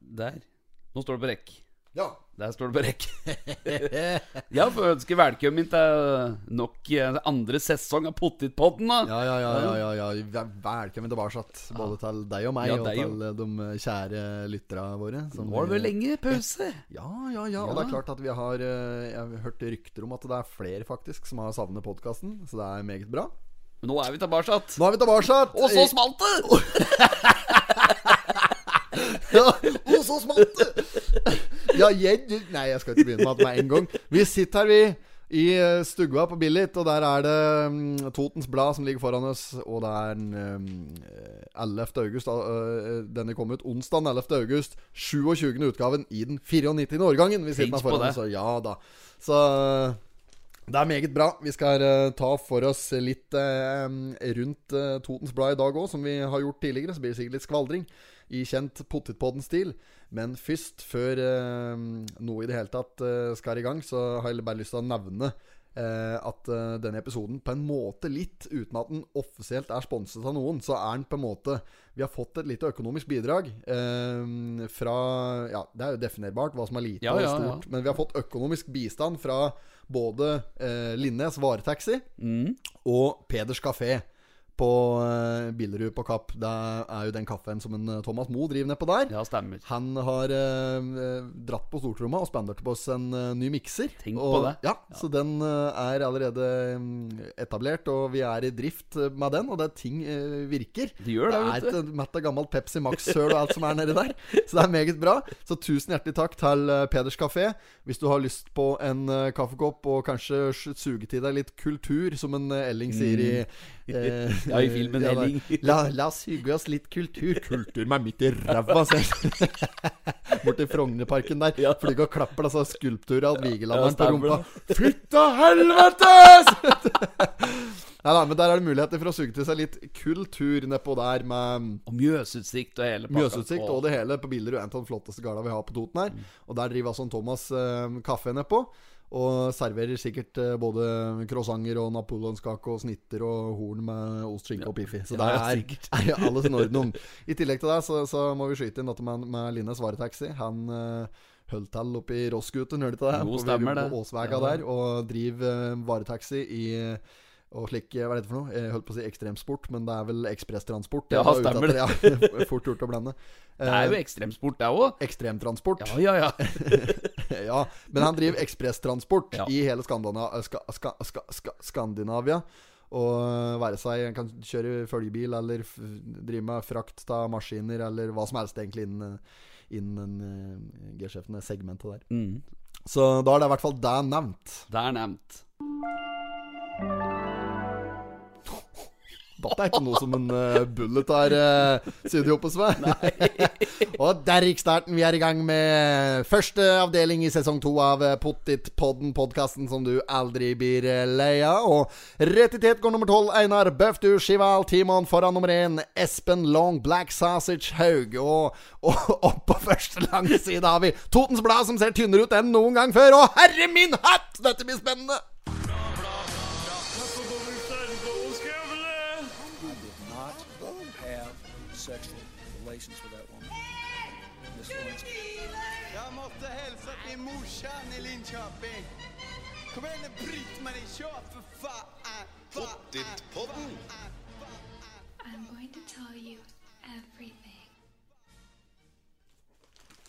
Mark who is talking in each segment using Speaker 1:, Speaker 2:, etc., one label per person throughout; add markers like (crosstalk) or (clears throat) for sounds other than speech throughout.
Speaker 1: Der. Nå står det på rekk. (laughs)
Speaker 2: Ja.
Speaker 1: Der står det på rekk. (laughs) ja, får ønske velkommen til nok eh, andre sesong av Pottitpodden. da.
Speaker 2: Ja, ja, ja, ja, ja, ja. Vel- Velkommen tilbake att, både til deg og meg,
Speaker 1: Ja,
Speaker 2: og
Speaker 1: deg
Speaker 2: til de kjære lytterne våre. som
Speaker 1: Nå var det vel
Speaker 2: vi-
Speaker 1: lenge pause.
Speaker 2: Ja, ja, ja. Og
Speaker 1: Ja.
Speaker 2: det er klart at vi har eh, Jeg har hørt rykter om at det er flere faktisk som har savnet podkasten, så det er meget bra.
Speaker 1: (laughs) Men nå er vi tilbake.
Speaker 2: Nå er vi tilbake!
Speaker 1: Og så smalt det!
Speaker 2: Ja, og så smalt det! Ja, jeg, nei, jeg skal ikke begynne med det med en gang. Vi sitter her, vi, i eh, stugga på Billit, og der er det mm, Totens Blad som ligger foran oss. Og det er den, eh, 11. august. eh, Denne kom ut onsdag 11. august. 27. utgaven i den 94. årgangen vi
Speaker 1: Tenk
Speaker 2: sitter med
Speaker 1: på
Speaker 2: foran
Speaker 1: det.
Speaker 2: oss. og Ja da. Så eh, det er meget bra. Vi skal eh, ta for oss litt eh, rundt eh, Totens Blad i dag òg, som vi har gjort tidligere. Så blir det sikkert litt skvaldring i kjent potetpodden-stil. Men først, før eh, noe i det hele tatt eh, skal i gang, så har jeg bare lyst til å nevne eh, at eh, denne episoden, på en måte litt uten at den offisielt er sponset av noen, så er den på en måte Vi har fått et lite økonomisk bidrag eh, fra Ja, det er jo definerbart hva som er lite
Speaker 1: Ja,
Speaker 2: og
Speaker 1: ja,
Speaker 2: stort.
Speaker 1: ja.
Speaker 2: Men vi har fått økonomisk bistand fra både eh, Linnes varetaxi
Speaker 1: Mm.
Speaker 2: og Peders kafé på eh, Billerud på Kapp. Det er jo den kaffen som en eh, Thomas Moe driver nedpå der.
Speaker 1: Ja, stemmer.
Speaker 2: Han har eh, eh, dratt på stortromma og spandert på oss en eh, ny mikser.
Speaker 1: Tenk
Speaker 2: og,
Speaker 1: på det.
Speaker 2: Ja, Så den eh, er allerede mm, etablert, og vi er i drift eh, med den. Og det er ting eh, virker.
Speaker 1: Det gjør det, vet
Speaker 2: Det er et eh, mett av gammelt Pepsi Max-søl og alt som er nedi der. (laughs) Så det er meget bra. Så tusen hjertelig takk til eh, Peders kafé. Hvis du har lyst på en eh, kaffekopp og kanskje s- suge til deg litt kultur, som en eh, Elling sier i eh,
Speaker 1: Mm. (laughs) Ja, i
Speaker 2: (laughs)
Speaker 1: filmen
Speaker 2: da.
Speaker 1: Elling.
Speaker 2: La, la oss hygge oss litt kultur. Kultur meg midt i ræva, sier (laughs) han. Borti Frognerparken der.
Speaker 1: Ja.
Speaker 2: Flyg og klapper disse skulpturene altså, av
Speaker 1: Ja,
Speaker 2: Vigelanderen på
Speaker 1: stemmer
Speaker 2: rumpa. Fytta helvetes! (laughs) Nei da, men der er det muligheter for å suge til seg litt kultur nedpå der med
Speaker 1: Og Mjøsutsikt og hele pakka. Mm.
Speaker 2: Mjøsutsikt og det hele på Billerud. En av de flotteste garda vi har på Toten her. Og der driver altså en Thomas eh, kafé nedpå. Og serverer sikkert eh, både croissanter og napoleonskake og snitter og horn med ost, skinke og piffi. Så
Speaker 1: Ja,
Speaker 2: der
Speaker 1: ja,
Speaker 2: er, (laughs) er jo alles
Speaker 1: (laughs)
Speaker 2: en ordnung. I tillegg til det så, så må vi skyte inn dette med, med Linnes varetaxi. Han eh, holdt til oppe i Rossgutten, hører du til det?
Speaker 1: Jo,
Speaker 2: Oppe
Speaker 1: stemmer det.
Speaker 2: På Åsvega
Speaker 1: Ja.
Speaker 2: der. Og driver eh, varetaxi i og slik, hva er det for noe? Jeg holdt på å si ekstremsport, men det er vel ekspresstransport.
Speaker 1: Ja,
Speaker 2: Jeg var ute
Speaker 1: stemmer
Speaker 2: etter det. Ja, (laughs) fort gjort å blande.
Speaker 1: (laughs)
Speaker 2: Eh,
Speaker 1: Det er jo ekstremsport, det òg.
Speaker 2: Ekstremtransport.
Speaker 1: Ja,
Speaker 2: (laughs) Ja.
Speaker 1: ja, (laughs) ja.
Speaker 2: Men han driver ekspresstransport
Speaker 1: Ja.
Speaker 2: i hele Skandina eh, ska, ska, ska, ska, Skandinavia. Og eh, være seg Han kan kjøre følgebil eller f drive med frakt av maskiner eller hva som helst egentlig innen, innen eh, geskjeftene, segmentet der.
Speaker 1: Mm.
Speaker 2: Så da er det i hvert fall det nevnt.
Speaker 1: Det er nevnt.
Speaker 2: Dette er ikke noe som en eh, bullet har uh, sydd ihop hos meg. (laughs) og der gikk starten. Vi er i gang med første avdeling i sesong to av eh, Pottitpodden, podkasten som du aldri blir eh, lei av. Og rett i tet går nummer tolv Einar Bøftu Skival Timon foran nummer én Espen Long Black Sausage Haug. Og, og opp på første lange side har vi Totens Blad som ser tynnere ut enn noen gang før. Og herre min hatt! Dette blir spennende!
Speaker 3: not have sexual relations with that woman. Miss Lewinsky.
Speaker 4: Jeg måtte hilse til morsan i Linköping. Kom igjen, Britt-Marie, kjør, for faen! Pottitpodden.
Speaker 5: I'm going to tell you everything.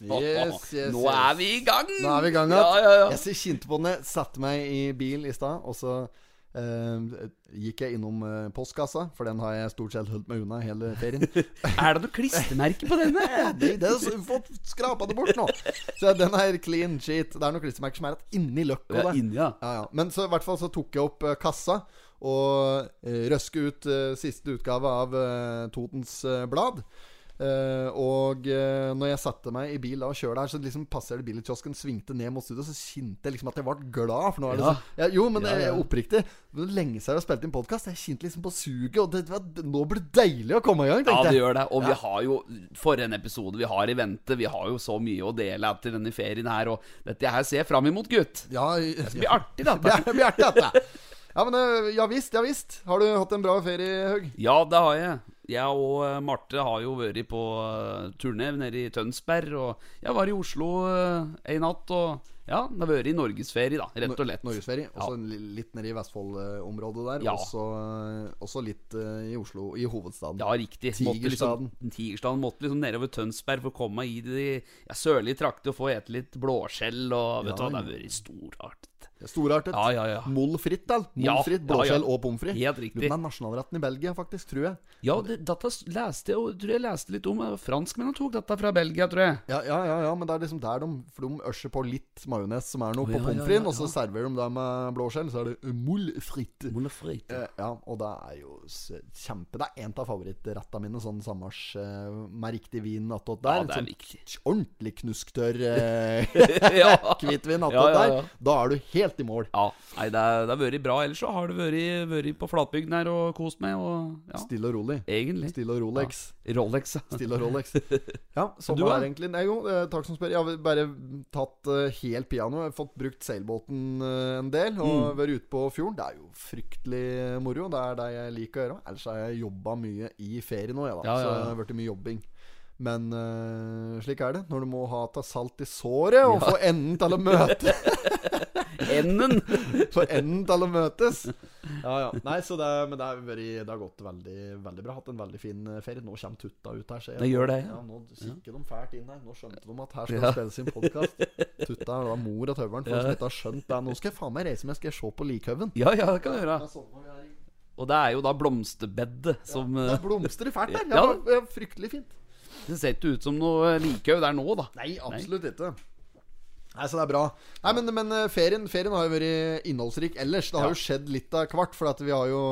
Speaker 2: Yes, yes,
Speaker 1: Nå
Speaker 2: yes.
Speaker 1: er vi i gang!
Speaker 2: Nå er vi i gang igjen.
Speaker 1: Ja, ja, ja.
Speaker 2: Jeg s- kjente på den. jeg Satte meg i bil i stad, og så eh, gikk jeg innom eh, postkassa, for den har jeg stort sett holdt meg unna hele ferien.
Speaker 1: Er det noe klistremerke på denne? (laughs)
Speaker 2: det, det er så, Få skrapa det bort nå! Så den er clean shit. Det er noen klistremerker som er rett inni løkka.
Speaker 1: Ja,
Speaker 2: der.
Speaker 1: inni, ja.
Speaker 2: Ja, ja. Men så i hvert fall så tok jeg opp eh, kassa og uh, røske ut eh, siste utgave av eh, Totens eh, Blad. Eh, og eh, når jeg satte meg i bil da og kjørte her, så liksom passerte bilkiosken, svingte ned mot studio, så kjente jeg liksom at jeg ble glad. For nå er det
Speaker 1: Ja.
Speaker 2: sånn ja, Jo, men
Speaker 1: Ja,
Speaker 2: det
Speaker 1: ja.
Speaker 2: er oppriktig. Det er Lenge siden jeg har spilt inn podkast. Jeg kjente liksom på suget, og det, var- nå blir det deilig å komme i gang,
Speaker 1: Ja,
Speaker 2: tenkte
Speaker 1: det
Speaker 2: jeg.
Speaker 1: gjør det. Og vi har jo for en episode vi har i vente. Vi har jo så mye å dele etter denne ferien her, og dette her ser jeg fram imot, gutt.
Speaker 2: Ja,
Speaker 1: Det blir artig,
Speaker 2: (laughs)
Speaker 1: dette.
Speaker 2: Bjarte, Bjarte, dette. Ja, men eh, ja visst, ja visst. Har du hatt en bra ferie, Haug?
Speaker 1: Ja, det har jeg. Jeg og eh, Marte har jo vært på eh, turné nede i Tønsberg, og jeg var i Oslo eh, en natt, og ja, det har vært i norgesferie, da, rett og lett.
Speaker 2: Norgesferie. Og så
Speaker 1: Ja.
Speaker 2: en li- litt nede i Vestfold-området der.
Speaker 1: Ja.
Speaker 2: Og så- og så litt eh, i Oslo, i hovedstaden.
Speaker 1: Ja, riktig. Måtte liksom, Tigerstaden måtte liksom nedover Tønsberg for å komme meg i de ja, sørlige trakter og få ete litt blåskjell og vet du hva, det har vært storartet.
Speaker 2: Storartet.
Speaker 1: Ja, ja, ja.
Speaker 2: Moll fritt, da. Moll
Speaker 1: Ja,
Speaker 2: fritt,
Speaker 1: ja, ja.
Speaker 2: blåskjell og pommes frites.
Speaker 1: Helt riktig.
Speaker 2: Lurer på om det er nasjonalretten i Belgia, faktisk, tror jeg.
Speaker 1: Ja, det, dette s- leste jeg, og tror jeg leste litt om. eh, Franskmennene tok dette fra Belgia, tror jeg.
Speaker 2: Ja, ja, ja, ja, men det er liksom der de For de ørser på litt majones som er noe
Speaker 1: Å,
Speaker 2: på
Speaker 1: ja,
Speaker 2: pommes
Speaker 1: ja,
Speaker 2: frites,
Speaker 1: ja,
Speaker 2: og så serverer de det med blåskjell, så er det moll fritt.
Speaker 1: Molefrit.
Speaker 2: Eh, Ja, og det er jo s- kjempe Det er en av favorittrettene mine, sånn sammars eh, med riktig vin attåt der.
Speaker 1: Ja, det er
Speaker 2: sånn
Speaker 1: viktig.
Speaker 2: k- Ordentlig knusktørr eh,
Speaker 1: (laughs) (laughs) ja.
Speaker 2: hvitvin attåt
Speaker 1: Ja, ja, ja.
Speaker 2: der. Da er du helt i mål.
Speaker 1: ja. Nei, det er- det har vært bra. Ellers så har det vært, vært på flatbygden her og kost meg, og ja,
Speaker 2: Stille og rolig.
Speaker 1: egentlig.
Speaker 2: Stille og Rolex.
Speaker 1: Rolex, ja.
Speaker 2: Stille
Speaker 1: (laughs)
Speaker 2: og Rolex. Ja, sånn
Speaker 1: Du, da?
Speaker 2: var det egentlig. Nei, jo, eh, takk som spør. Jeg har bare tatt eh, helt piano. Jeg har fått brukt seilbåten eh, en del
Speaker 1: Mm.
Speaker 2: og vært ute på fjorden. Det er jo fryktelig moro. Det er det jeg liker å gjøre. Ellers har jeg jobba mye i ferie nå, jeg, da.
Speaker 1: Ja, ja,
Speaker 2: Så
Speaker 1: ja.
Speaker 2: det har blitt mye jobbing. Men eh, slik er det når du må ha ta salt i såret og få enden til å møte
Speaker 1: (laughs) Enden!
Speaker 2: Få enden til å møtes. Ja, ja. Nei, så det, men det, har vært- det har gått veldig, veldig bra. Hatt en veldig fin eh, ferie. Nå kommer Tutta ut her, ser jeg.
Speaker 1: Det gjør det, ja.
Speaker 2: Ja, nå kikker de fælt inn her. Nå skjønte de at her skal
Speaker 1: Ja.
Speaker 2: det spilles inn podkast. Tutta er da mor og tøveren for de som ikke har skjønt det. Nå skal jeg faen meg reise meg, skal jeg se på likhaugen.
Speaker 1: Ja, ja, det kan du gjøre.
Speaker 2: Det er sånn når vi er i-
Speaker 1: Og det er jo da blomsterbedet som eh,
Speaker 2: Det blomstrer fælt der.
Speaker 1: Ja,
Speaker 2: Ja, det er fryktelig fint.
Speaker 1: Det ser ikke ut som noe likehaug der nå, da.
Speaker 2: Nei, absolutt ikke. Nei, Så det er bra. Nei, Men, men eh, ferien, ferien har jo vært innholdsrik ellers. Det har
Speaker 1: Ja.
Speaker 2: jo skjedd litt av hvert. For at vi har jo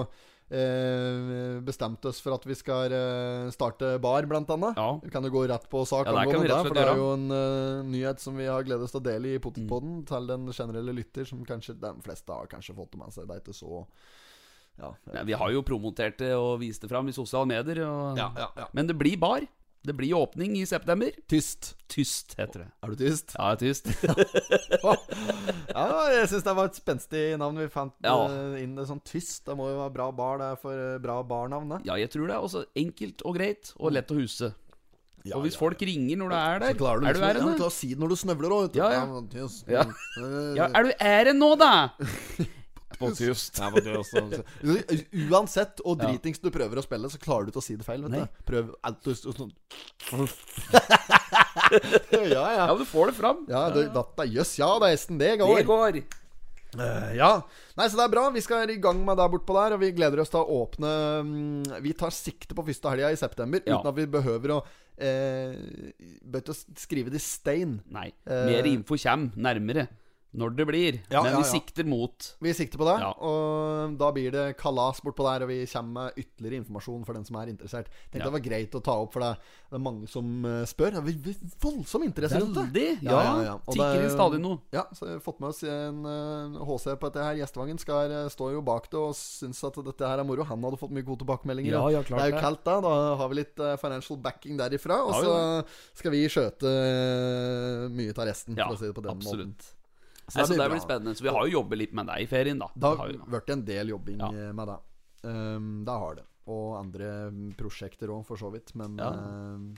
Speaker 2: eh, bestemt oss for at vi skal eh, starte bar, blant annet.
Speaker 1: Ja.
Speaker 2: Vi kan jo gå rett på sak.
Speaker 1: Ja, det kan
Speaker 2: angående
Speaker 1: vi rett og
Speaker 2: det,
Speaker 1: slett
Speaker 2: For det
Speaker 1: gjøre.
Speaker 2: er jo en eh, nyhet som vi har gledet oss til å dele i
Speaker 1: Mm.
Speaker 2: Potetpodden til den generelle lytter, som kanskje de fleste har kanskje fått det med seg. Det er ikke så Ja.
Speaker 1: Nei, vi har jo promotert det og vist det fram i sosiale medier. Og...
Speaker 2: Ja, ja, ja.
Speaker 1: Men det blir bar. Det blir åpning i september.
Speaker 2: Tyst.
Speaker 1: Tyst, heter det.
Speaker 2: Er du tyst?
Speaker 1: Ja, tyst.
Speaker 2: Ja, jeg syns det var et spenstig navn vi fant
Speaker 1: Ja.
Speaker 2: eh, inn. Det sånn tyst. Det må jo være bra bar. Det er for eh, bra barnavn, det.
Speaker 1: Ja, jeg tror det er også enkelt og greit og lett å huske. og hvis folk ringer når du er
Speaker 2: Så
Speaker 1: der
Speaker 2: klarer du
Speaker 1: Er du
Speaker 2: liksom-
Speaker 1: her
Speaker 2: Ja, du
Speaker 1: ennå?
Speaker 2: klarer å si det når du snøvler òg, vet du.
Speaker 1: Ja, ja.
Speaker 2: men tyst.
Speaker 1: Ja.
Speaker 2: Eh,
Speaker 1: Ja, er du her ennå,
Speaker 2: (laughs)
Speaker 1: da? På tyst.
Speaker 2: Ja, men det er også- U- Eh, Uansett og dritings du prøver å spille, så klarer du ikke å si det feil. Vet
Speaker 1: Nei.
Speaker 2: du. Prøv alt du
Speaker 1: (laughs)
Speaker 2: sånn. Ja,
Speaker 1: Ja,
Speaker 2: ja.
Speaker 1: du får det fram.
Speaker 2: Ja, det- dette- Jøss, ja, det er hesten. Det går.
Speaker 1: Det går.
Speaker 2: Eh, Ja. Nei, så det er bra. Vi skal i gang med det bortpå der, og vi gleder oss til å åpne mm, Vi tar sikte på første helga i september,
Speaker 1: Ja.
Speaker 2: uten at vi behøver å eh, Bør ikke skrive det i stein.
Speaker 1: Nei.
Speaker 2: Eh.
Speaker 1: Mer info kommer nærmere når det blir.
Speaker 2: Ja,
Speaker 1: Men
Speaker 2: ja,
Speaker 1: vi
Speaker 2: ja.
Speaker 1: sikter mot.
Speaker 2: Vi sikter på det,
Speaker 1: Ja.
Speaker 2: og da blir det kalas bortpå der. Og vi kommer med ytterligere informasjon for den som er interessert. Tenkte
Speaker 1: Ja.
Speaker 2: det var greit å ta opp, for det er- det er mange som eh, spør. Det er voldsom interesse rundt det.
Speaker 1: Veldig. Ja,
Speaker 2: Og det er
Speaker 1: tikker inn
Speaker 2: jo-
Speaker 1: stadig noe.
Speaker 2: Ja, så vi har fått med oss en eh, HC på dette her. Gjestevangen skal eh, stå jo bak det og syns at dette her er moro. Han hadde fått mye gode tilbakemeldinger.
Speaker 1: Ja, ja, klart
Speaker 2: det er jo
Speaker 1: det.
Speaker 2: kaldt da. Da har vi litt eh, financial backing derifra. Og
Speaker 1: Har vi
Speaker 2: så skal vi skjøte eh, mye av resten,
Speaker 1: Ja,
Speaker 2: for å si det på den måten.
Speaker 1: absolutt.
Speaker 2: Så
Speaker 1: Så det,
Speaker 2: det blir
Speaker 1: blir
Speaker 2: bra.
Speaker 1: spennende. Så vi har jo jobbet litt med deg i ferien, da.
Speaker 2: Da
Speaker 1: Vi har
Speaker 2: har
Speaker 1: jo-
Speaker 2: vært det en del jobbing
Speaker 1: Ja.
Speaker 2: eh, med det. Um, det har det. Og andre mm, prosjekter òg, for så vidt. Men
Speaker 1: Ja.
Speaker 2: eh,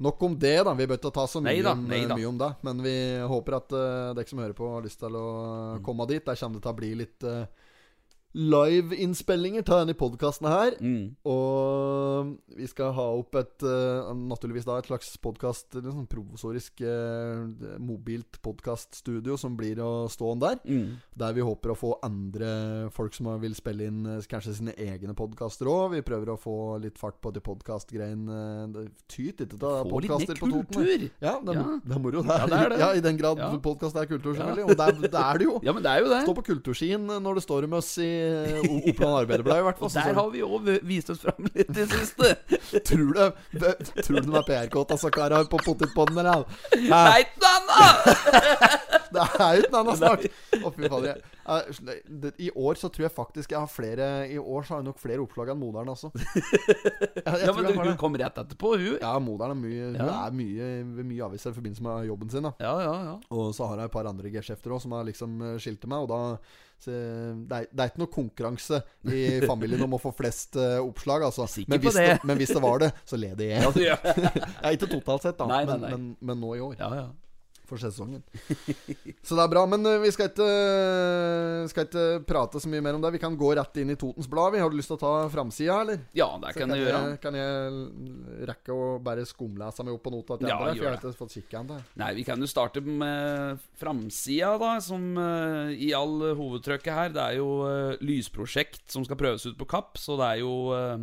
Speaker 2: nok om det, da. Vi bør ikke ta så mye,
Speaker 1: Neida,
Speaker 2: om,
Speaker 1: neida.
Speaker 2: mye om det. Men vi håper at eh, dere som hører på, har lyst til å
Speaker 1: Mm.
Speaker 2: komme dit. Der kommer det til å bli litt eh, live-innspillinger av denne podkasten her.
Speaker 1: mm.
Speaker 2: Og vi skal ha opp et eh, naturligvis da et slags podkast Sånn provosorisk eh, mobilt podkaststudio som blir å stå om der.
Speaker 1: Mm.
Speaker 2: Der vi håper å få andre folk som vil spille inn eh, kanskje sine egne podkaster òg. Vi prøver å få litt fart på de podkastgreien. Det tyter ikke av
Speaker 1: Få litt
Speaker 2: podkaster
Speaker 1: mer
Speaker 2: på Toten.
Speaker 1: kultur!
Speaker 2: Ja, det er,
Speaker 1: Ja.
Speaker 2: det er moro. Det er,
Speaker 1: Ja, det er det.
Speaker 2: Ja, I den grad
Speaker 1: Ja.
Speaker 2: podkast er kultur, selvfølgelig. Og det er det, er det jo.
Speaker 1: (laughs) Ja, men det er jo
Speaker 2: Stå
Speaker 1: det.
Speaker 2: på kulturskien når du står med oss i eh, O- Oppland Arbeiderblad, i
Speaker 1: (laughs)
Speaker 2: hvert
Speaker 1: Og
Speaker 2: fall.
Speaker 1: der har vi jo v- vist oss fram litt i det siste.
Speaker 2: Tror du Tror du de er PR-kåta, altså, kara på potetbånden, eller? Hæ?
Speaker 1: Nei, da, da!
Speaker 2: (laughs) Det er jo ikke noe annet snakk. Å, fy fader. jeg- eh, det- I år så tror jeg faktisk jeg har flere I år så har jeg nok flere oppslag enn moderen, altså.
Speaker 1: (laughs)
Speaker 2: Jeg, jeg
Speaker 1: Ja,
Speaker 2: tror
Speaker 1: men
Speaker 2: jeg
Speaker 1: du,
Speaker 2: har
Speaker 1: Hun
Speaker 2: det.
Speaker 1: kom rett etterpå, hun. Ja,
Speaker 2: Ja, moderen er mye, hun
Speaker 1: Ja.
Speaker 2: er mye ved mye aviser i forbindelse med jobben sin. da
Speaker 1: ja, ja.
Speaker 2: Og så har jeg et par andre geskjefter òg som har liksom eh, skilt meg. Og da så det er, det er ikke noe konkurranse i
Speaker 1: (laughs)
Speaker 2: familien om å få flest eh, oppslag, altså.
Speaker 1: Sikker
Speaker 2: Men
Speaker 1: på
Speaker 2: hvis det.
Speaker 1: det.
Speaker 2: men hvis det var det, så leder jeg.
Speaker 1: Ja, du gjør det.
Speaker 2: Altså, Ja, ikke totalt sett, da,
Speaker 1: Nei, nei, nei.
Speaker 2: Men, men, men nå i år.
Speaker 1: ja, ja.
Speaker 2: For sesongen. Så det er bra. Men eh, vi skal ikke, eh, skal ikke prate så mye mer om det. Vi kan gå rett inn i Totens Blad. Vi Har du lyst til å ta framsida, eller?
Speaker 1: ja det
Speaker 2: Så
Speaker 1: kan jeg gjøre.
Speaker 2: Jeg, kan jeg rekke å bare skumlese meg opp på nota til
Speaker 1: Ja,
Speaker 2: andre? For jeg
Speaker 1: gjør
Speaker 2: har ikke fått kikket ennå.
Speaker 1: Nei, vi kan jo starte med framsida, da, som eh, i all eh, hovedtrykket her. Det er jo eh, lysprosjekt som skal prøves ut på Kapp, så det er jo eh,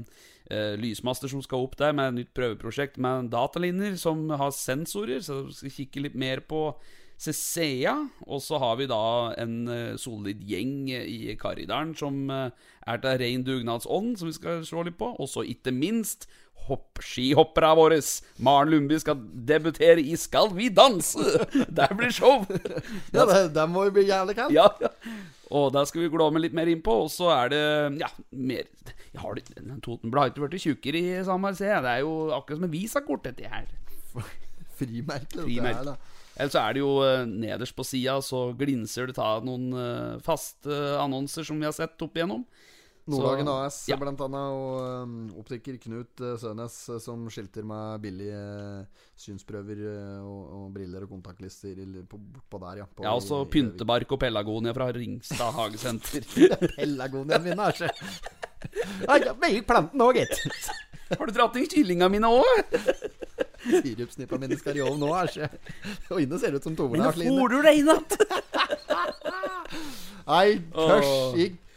Speaker 1: eh, lysmaster som skal opp der med et nytt prøveprosjekt med datalinjer som har sensorer, så vi skal kikke litt mer på CCA. Og så har vi da en eh, solid gjeng eh, i Karidalen som eh, er til rein dugnadsånd, som vi skal se litt på. Og så ikke minst hopp, skihopperne våre. Maren Lundby skal debutere i Skal vi danse! (laughs) Det blir show! (laughs)
Speaker 2: Ja, det, det må jo bli jævlig kaldt.
Speaker 1: Ja, ja. Og der skal vi glåme litt mer innpå. Og så er det ja, mer jeg har det, Totenbladet har ikke blitt tjukkere i sommer, ser jeg. Det er jo akkurat som en visakort, dette her.
Speaker 2: (laughs) Frimerkelig.
Speaker 1: Frimerke.
Speaker 2: Det er,
Speaker 1: Eller så er det jo eh, nederst på sida, så glinser det av noen eh, faste annonser som vi har sett opp igjennom.
Speaker 2: Nordhagen
Speaker 1: Så-
Speaker 2: AS
Speaker 1: ja.
Speaker 2: blant annet, og um, optiker Knut eh, Sønes eh, som skilter med billige eh, synsprøver eh, og, og briller og kontaktlister i- på, bortpå der, ja. På,
Speaker 1: Ja, og så
Speaker 2: i- i-
Speaker 1: pyntebark og pelagonia fra Ringstad hagesenter.
Speaker 2: (laughs) Pelagonien min, altså. Jeg har mye planten òg, gitt.
Speaker 1: Har du dratt inn kyllinga mine òg?
Speaker 2: Sirupsnippa mine skal i ovnen nå, altså. Og inne ser det ut som Tove
Speaker 1: Men
Speaker 2: Lars Line.
Speaker 1: får du deg inn att?
Speaker 2: Nei, tørs i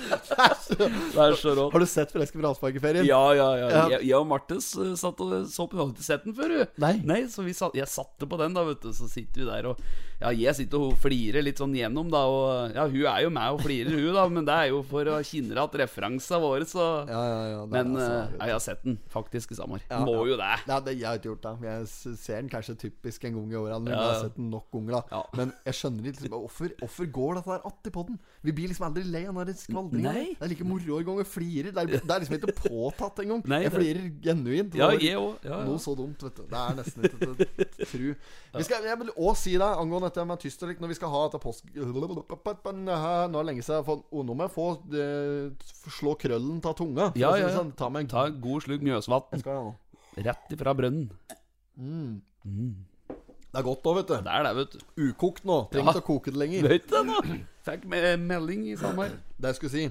Speaker 1: Det er så rått.
Speaker 2: Har du sett Freske fra Allsparkeferien?
Speaker 1: (laughs) Ja, ja, ja.
Speaker 2: Ja.
Speaker 1: Jeg, jeg og Martes eh, satt og så på Vi hadde ikke sett den før, du.
Speaker 2: Nei.
Speaker 1: Nei, så vi satt, jeg satte på den, da, vet du. Så sitter vi der og Ja, jeg sitter og flirer litt sånn gjennom, da. Og ja, hun er jo meg og flirer, hun, da. Men det er jo for å kjenne igjen referansene våre, så
Speaker 2: ja, ja, ja det er
Speaker 1: Men
Speaker 2: altså-
Speaker 1: eh, ja, jeg har sett den faktisk i sommer.
Speaker 2: Ja,
Speaker 1: Må
Speaker 2: ja.
Speaker 1: jo det.
Speaker 2: Nei, det, jeg har ikke gjort det. Jeg s- ser den kanskje typisk en gang i året. Men
Speaker 1: Ja,
Speaker 2: jeg har
Speaker 1: ja.
Speaker 2: sett den nok ganger da
Speaker 1: Ja.
Speaker 2: Men jeg skjønner ikke liksom, hvorfor, hvorfor går dette der att i podden? Vi blir liksom aldri lei av den skvaldringa.
Speaker 1: Nei.
Speaker 2: Det er like moro en gang jeg flirer. Det er, det er liksom ikke påtatt engang.
Speaker 1: Nei,
Speaker 2: Jeg
Speaker 1: det-
Speaker 2: flirer genuint.
Speaker 1: Ja,
Speaker 2: Det var
Speaker 1: jeg òg. Ja, ja.
Speaker 2: Noe så dumt, vet du. Det er nesten ikke til å tru. Vi skal, jeg vil òg si deg angående dette med tysterlik når vi skal ha dette post... Nå er det lenge siden jeg har fått Nå må jeg få eh, slå krøllen av tunga. for
Speaker 1: Ja,
Speaker 2: å si det
Speaker 1: ja, ja.
Speaker 2: sånn. Ta meg en
Speaker 1: Ta en god slurk
Speaker 2: Jeg
Speaker 1: Mjøsvatn
Speaker 2: skal ha noe.
Speaker 1: rett ifra brønnen.
Speaker 2: Det er godt òg, vet du.
Speaker 1: Det er det,
Speaker 2: (laughs)
Speaker 1: vet du.
Speaker 2: ukokt nå. Trenger ikke å koke det lenger.
Speaker 1: Vet du det nå? Fikk me- melding i sommer.
Speaker 2: Det jeg skulle si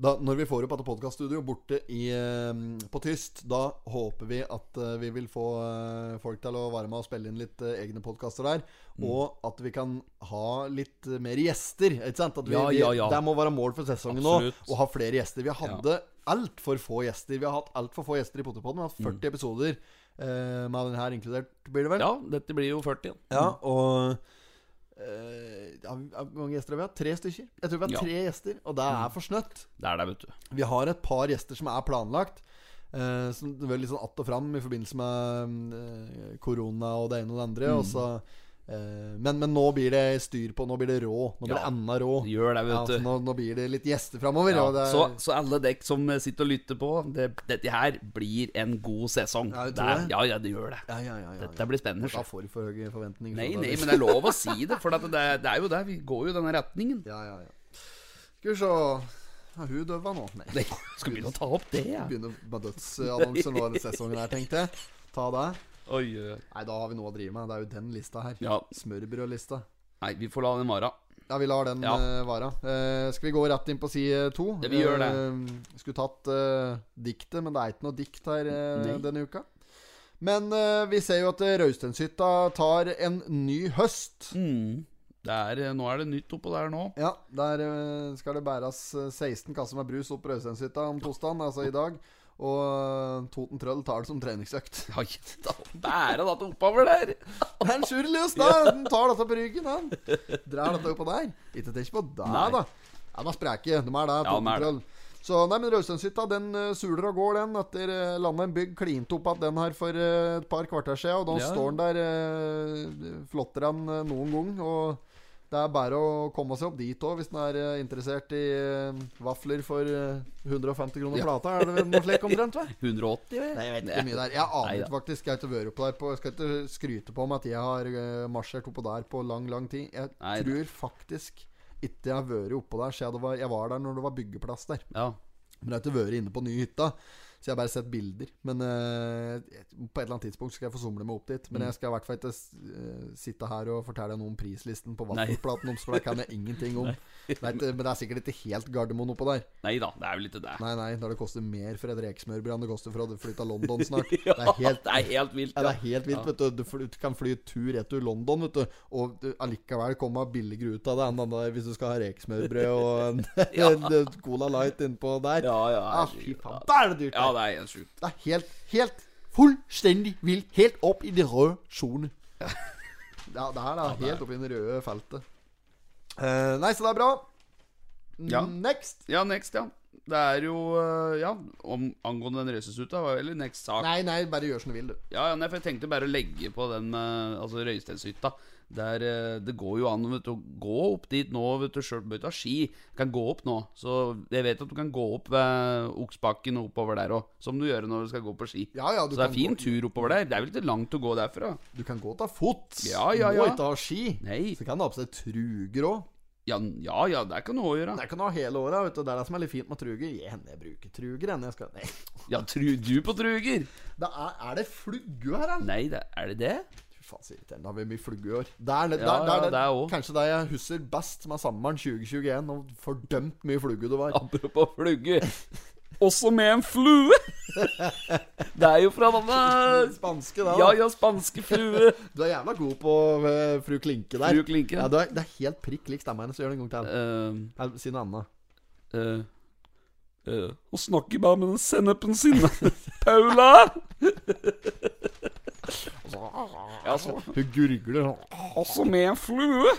Speaker 2: da, Når vi får opp dette podkaststudioet borte i, eh, på Tyst, da håper vi at eh, vi vil få eh, folk til å være med og spille inn litt eh, egne podkaster der.
Speaker 1: Mm.
Speaker 2: Og at vi kan ha litt eh, mer gjester. Ikke sant? At vi,
Speaker 1: Ja, ja, ja.
Speaker 2: Vi, det må være mål for sesongen
Speaker 1: Absolutt.
Speaker 2: nå å ha flere gjester. Vi hadde altfor få gjester. Vi har hatt altfor få gjester i Potterpodden. Vi har hatt 40 episoder eh, med den her inkludert, blir det vel?
Speaker 1: Mm. Ja, dette blir jo 40. igjen.
Speaker 2: Ja, og eh, ja, Hvor mange gjester har vi hatt? Tre stykker? Jeg tror vi har
Speaker 1: Ja. Mm.
Speaker 2: tre gjester, og det er for snøtt.
Speaker 1: Det er det, vet du.
Speaker 2: Vi har et par gjester som er planlagt. eh, som det var litt sånn att og fram i forbindelse med eh, korona og det ene og det andre.
Speaker 1: Mm.
Speaker 2: Og så, eh, men, men nå blir det styr på. Nå blir det rå. Nå blir det
Speaker 1: Ja.
Speaker 2: enda rå.
Speaker 1: Gjør det,
Speaker 2: Ja,
Speaker 1: vet
Speaker 2: så
Speaker 1: du.
Speaker 2: nå, nå blir det litt gjester framover.
Speaker 1: Ja,
Speaker 2: og det er-
Speaker 1: så, så alle dekk som sitter og lytter på, det, dette her blir en god sesong.
Speaker 2: Ja, jeg
Speaker 1: Det
Speaker 2: tror
Speaker 1: er,
Speaker 2: det.
Speaker 1: ja, ja, det gjør det.
Speaker 2: ja, ja, ja, ja,
Speaker 1: Dette blir spennende.
Speaker 2: Da
Speaker 1: sjef.
Speaker 2: får du for høye forventninger.
Speaker 1: Nei,
Speaker 2: Så da-
Speaker 1: nei, men det er lov å si det, for at det, det er jo det. Vi går jo i denne retningen.
Speaker 2: Ja, ja, ja. Skal vi se Har hun døva nå? Nei.
Speaker 1: Det, (laughs) skal begynne å ta opp det, ja.
Speaker 2: Begynne med dødsannonser nå denne sesongen her, tenkte jeg. Ta det.
Speaker 1: Oi, oi, oi.
Speaker 2: Nei, da har vi noe å drive med. Det er jo den lista her.
Speaker 1: Ja.
Speaker 2: Smørbrødlista.
Speaker 1: Nei, vi får la den vare.
Speaker 2: Ja, vi lar den
Speaker 1: Ja.
Speaker 2: eh, vare. Eh, skal vi gå rett inn på side to?
Speaker 1: Ja, vi gjør det.
Speaker 2: Eh, skulle tatt eh, diktet, men det er ikke noe dikt her eh,
Speaker 1: Nei.
Speaker 2: denne uka. Men eh, vi ser jo at eh, Raustenshytta tar en ny høst.
Speaker 1: Mm. Det er, eh, nå er det nytt oppå der nå.
Speaker 2: Ja, der eh, skal det bæres eh, 16 kasser med brus opp Raustenshytta om torsdagen, altså i dag. Og eh, Toten Trøll tar det som treningsøkt.
Speaker 1: Ja, da bærer dette oppover der.
Speaker 2: Det er en surlus, da! Den tar dette på ryggen, han. Drar dette oppå der. Ikke tenk på det,
Speaker 1: Nei.
Speaker 2: da. Ja, De er spreke. De er det.
Speaker 1: Ja, de er det.
Speaker 2: Totentrøll. Så nei, men Raustedshytta den eh, suler og går, den. Etter eh, Landheim bygg klinte opp igjen den her for eh, et par kvarter siden. Og da
Speaker 1: Ja.
Speaker 2: står den der eh, flottere enn eh, noen gang. Og det er bare å komme seg opp dit òg, hvis en er eh, interessert i eh, vafler for eh, 150 kroner plata. Er det vel noe slik omtrent, vel?
Speaker 1: 180, eller?
Speaker 2: Nei, jeg vet ikke hvor mye det er. Jeg aner
Speaker 1: Nei,
Speaker 2: ikke faktisk. Jeg har ikke vært oppå der på Jeg skal ikke skryte på meg at jeg har eh, marsjert oppå der på lang, lang tid. Jeg
Speaker 1: Nei,
Speaker 2: tror faktisk ikke jeg har vært oppå der siden det var, jeg var der når det var byggeplass der.
Speaker 1: Ja.
Speaker 2: Men jeg har ikke vært inne på ny hytta, så jeg har bare sett bilder. Men eh, på et eller annet tidspunkt skal jeg få somle meg opp dit. Men jeg skal i hvert fall ikke eh, sitte her og fortelle noe om prislisten på
Speaker 1: Nei.
Speaker 2: vaffelplaten deres, for det kan jeg ingenting om. Det er ikke- men det er sikkert ikke helt Gardermoen oppå der.
Speaker 1: Nei da, det er vel ikke det.
Speaker 2: Nei, nei, når det koster mer for et rekesmørbrød enn det koster for å flytte til
Speaker 1: (laughs)
Speaker 2: London snart.
Speaker 1: (laughs) Ja,
Speaker 2: Det er helt
Speaker 1: det er helt vilt.
Speaker 2: ja, det
Speaker 1: Ja.
Speaker 2: er helt vilt, vet du. Du, fly, du kan fly tur-retur London, vet du. Og du, allikevel komme billigere ut av det enn den der hvis du skal ha rekesmørbrød og
Speaker 1: (laughs)
Speaker 2: en, (laughs) en eh, Cola Light innpå der.
Speaker 1: Ja, ja,
Speaker 2: Ah, fy faen, da er det dyrt!
Speaker 1: ja,
Speaker 2: der.
Speaker 1: det er helt sjukt.
Speaker 2: Det er helt, helt fullstendig vilt. Helt opp i det røde
Speaker 1: (laughs)
Speaker 2: sone. Ja, det her er helt opp i det røde feltet. Eh, nei, så det er bra.
Speaker 1: Ja.
Speaker 2: Next.
Speaker 1: Ja, next, ja. Det er jo eh, Ja, om, angående den racesuta, var vel next sak.
Speaker 2: Nei, nei, bare gjør som du vil, du.
Speaker 1: Ja, ja, nei, for jeg tenkte bare å legge på den med Altså Røystedshytta. Der, eh, det går jo an vet du, å gå opp dit nå, vet du, sjøl bør du ta ski. Du kan gå opp nå. Så jeg vet at du kan gå opp ved Oksbakken og oppover der òg, som du gjør når du skal gå på ski.
Speaker 2: Ja, ja, du
Speaker 1: så det er
Speaker 2: kan
Speaker 1: fin
Speaker 2: gå-
Speaker 1: tur oppover der. Det er vel ikke langt å gå derfra?
Speaker 2: Du kan gå til fots.
Speaker 1: Ja, ja,
Speaker 2: Du må
Speaker 1: ja.
Speaker 2: ikke ha ski.
Speaker 1: Nei.
Speaker 2: Så kan du ha på seg truger òg.
Speaker 1: Ja, ja, ja det kan du òg gjøre.
Speaker 2: Det kan du ha hele året. Vet du. Det er det som er litt fint med truger. Jeg hender jeg bruker truger. Henne jeg skal... Nei.
Speaker 1: Ja, tru du på truger?
Speaker 2: Det er, er det flugge her, eller?
Speaker 1: Nei, det, er det det?
Speaker 2: Fy faen, så irriterende. Da har vi mye flugge i år. Det er, det,
Speaker 1: Ja,
Speaker 2: det er, det
Speaker 1: ja,
Speaker 2: er,
Speaker 1: det er også.
Speaker 2: kanskje det jeg husker best, som er sommeren 2021, og fordømt mye flugge det var.
Speaker 1: Apropos flugge. Også med en flue! Det er jo fra denne
Speaker 2: Spanske, det.
Speaker 1: Ja,
Speaker 2: da.
Speaker 1: ja, spanske flue.
Speaker 2: Du er jævla god på eh, fru Klinke der.
Speaker 1: Fru Klinke.
Speaker 2: Ja, du er, det er helt prikk lik stemma hennes. Gjør det en gang til.
Speaker 1: Eh,
Speaker 2: Nei, Si noe annet.
Speaker 1: Eh, eh, og snakker bare med den sennepen sin. (laughs) Paula! ja, så,
Speaker 2: Hun gurgler sånn.
Speaker 1: Altså, også med en flue.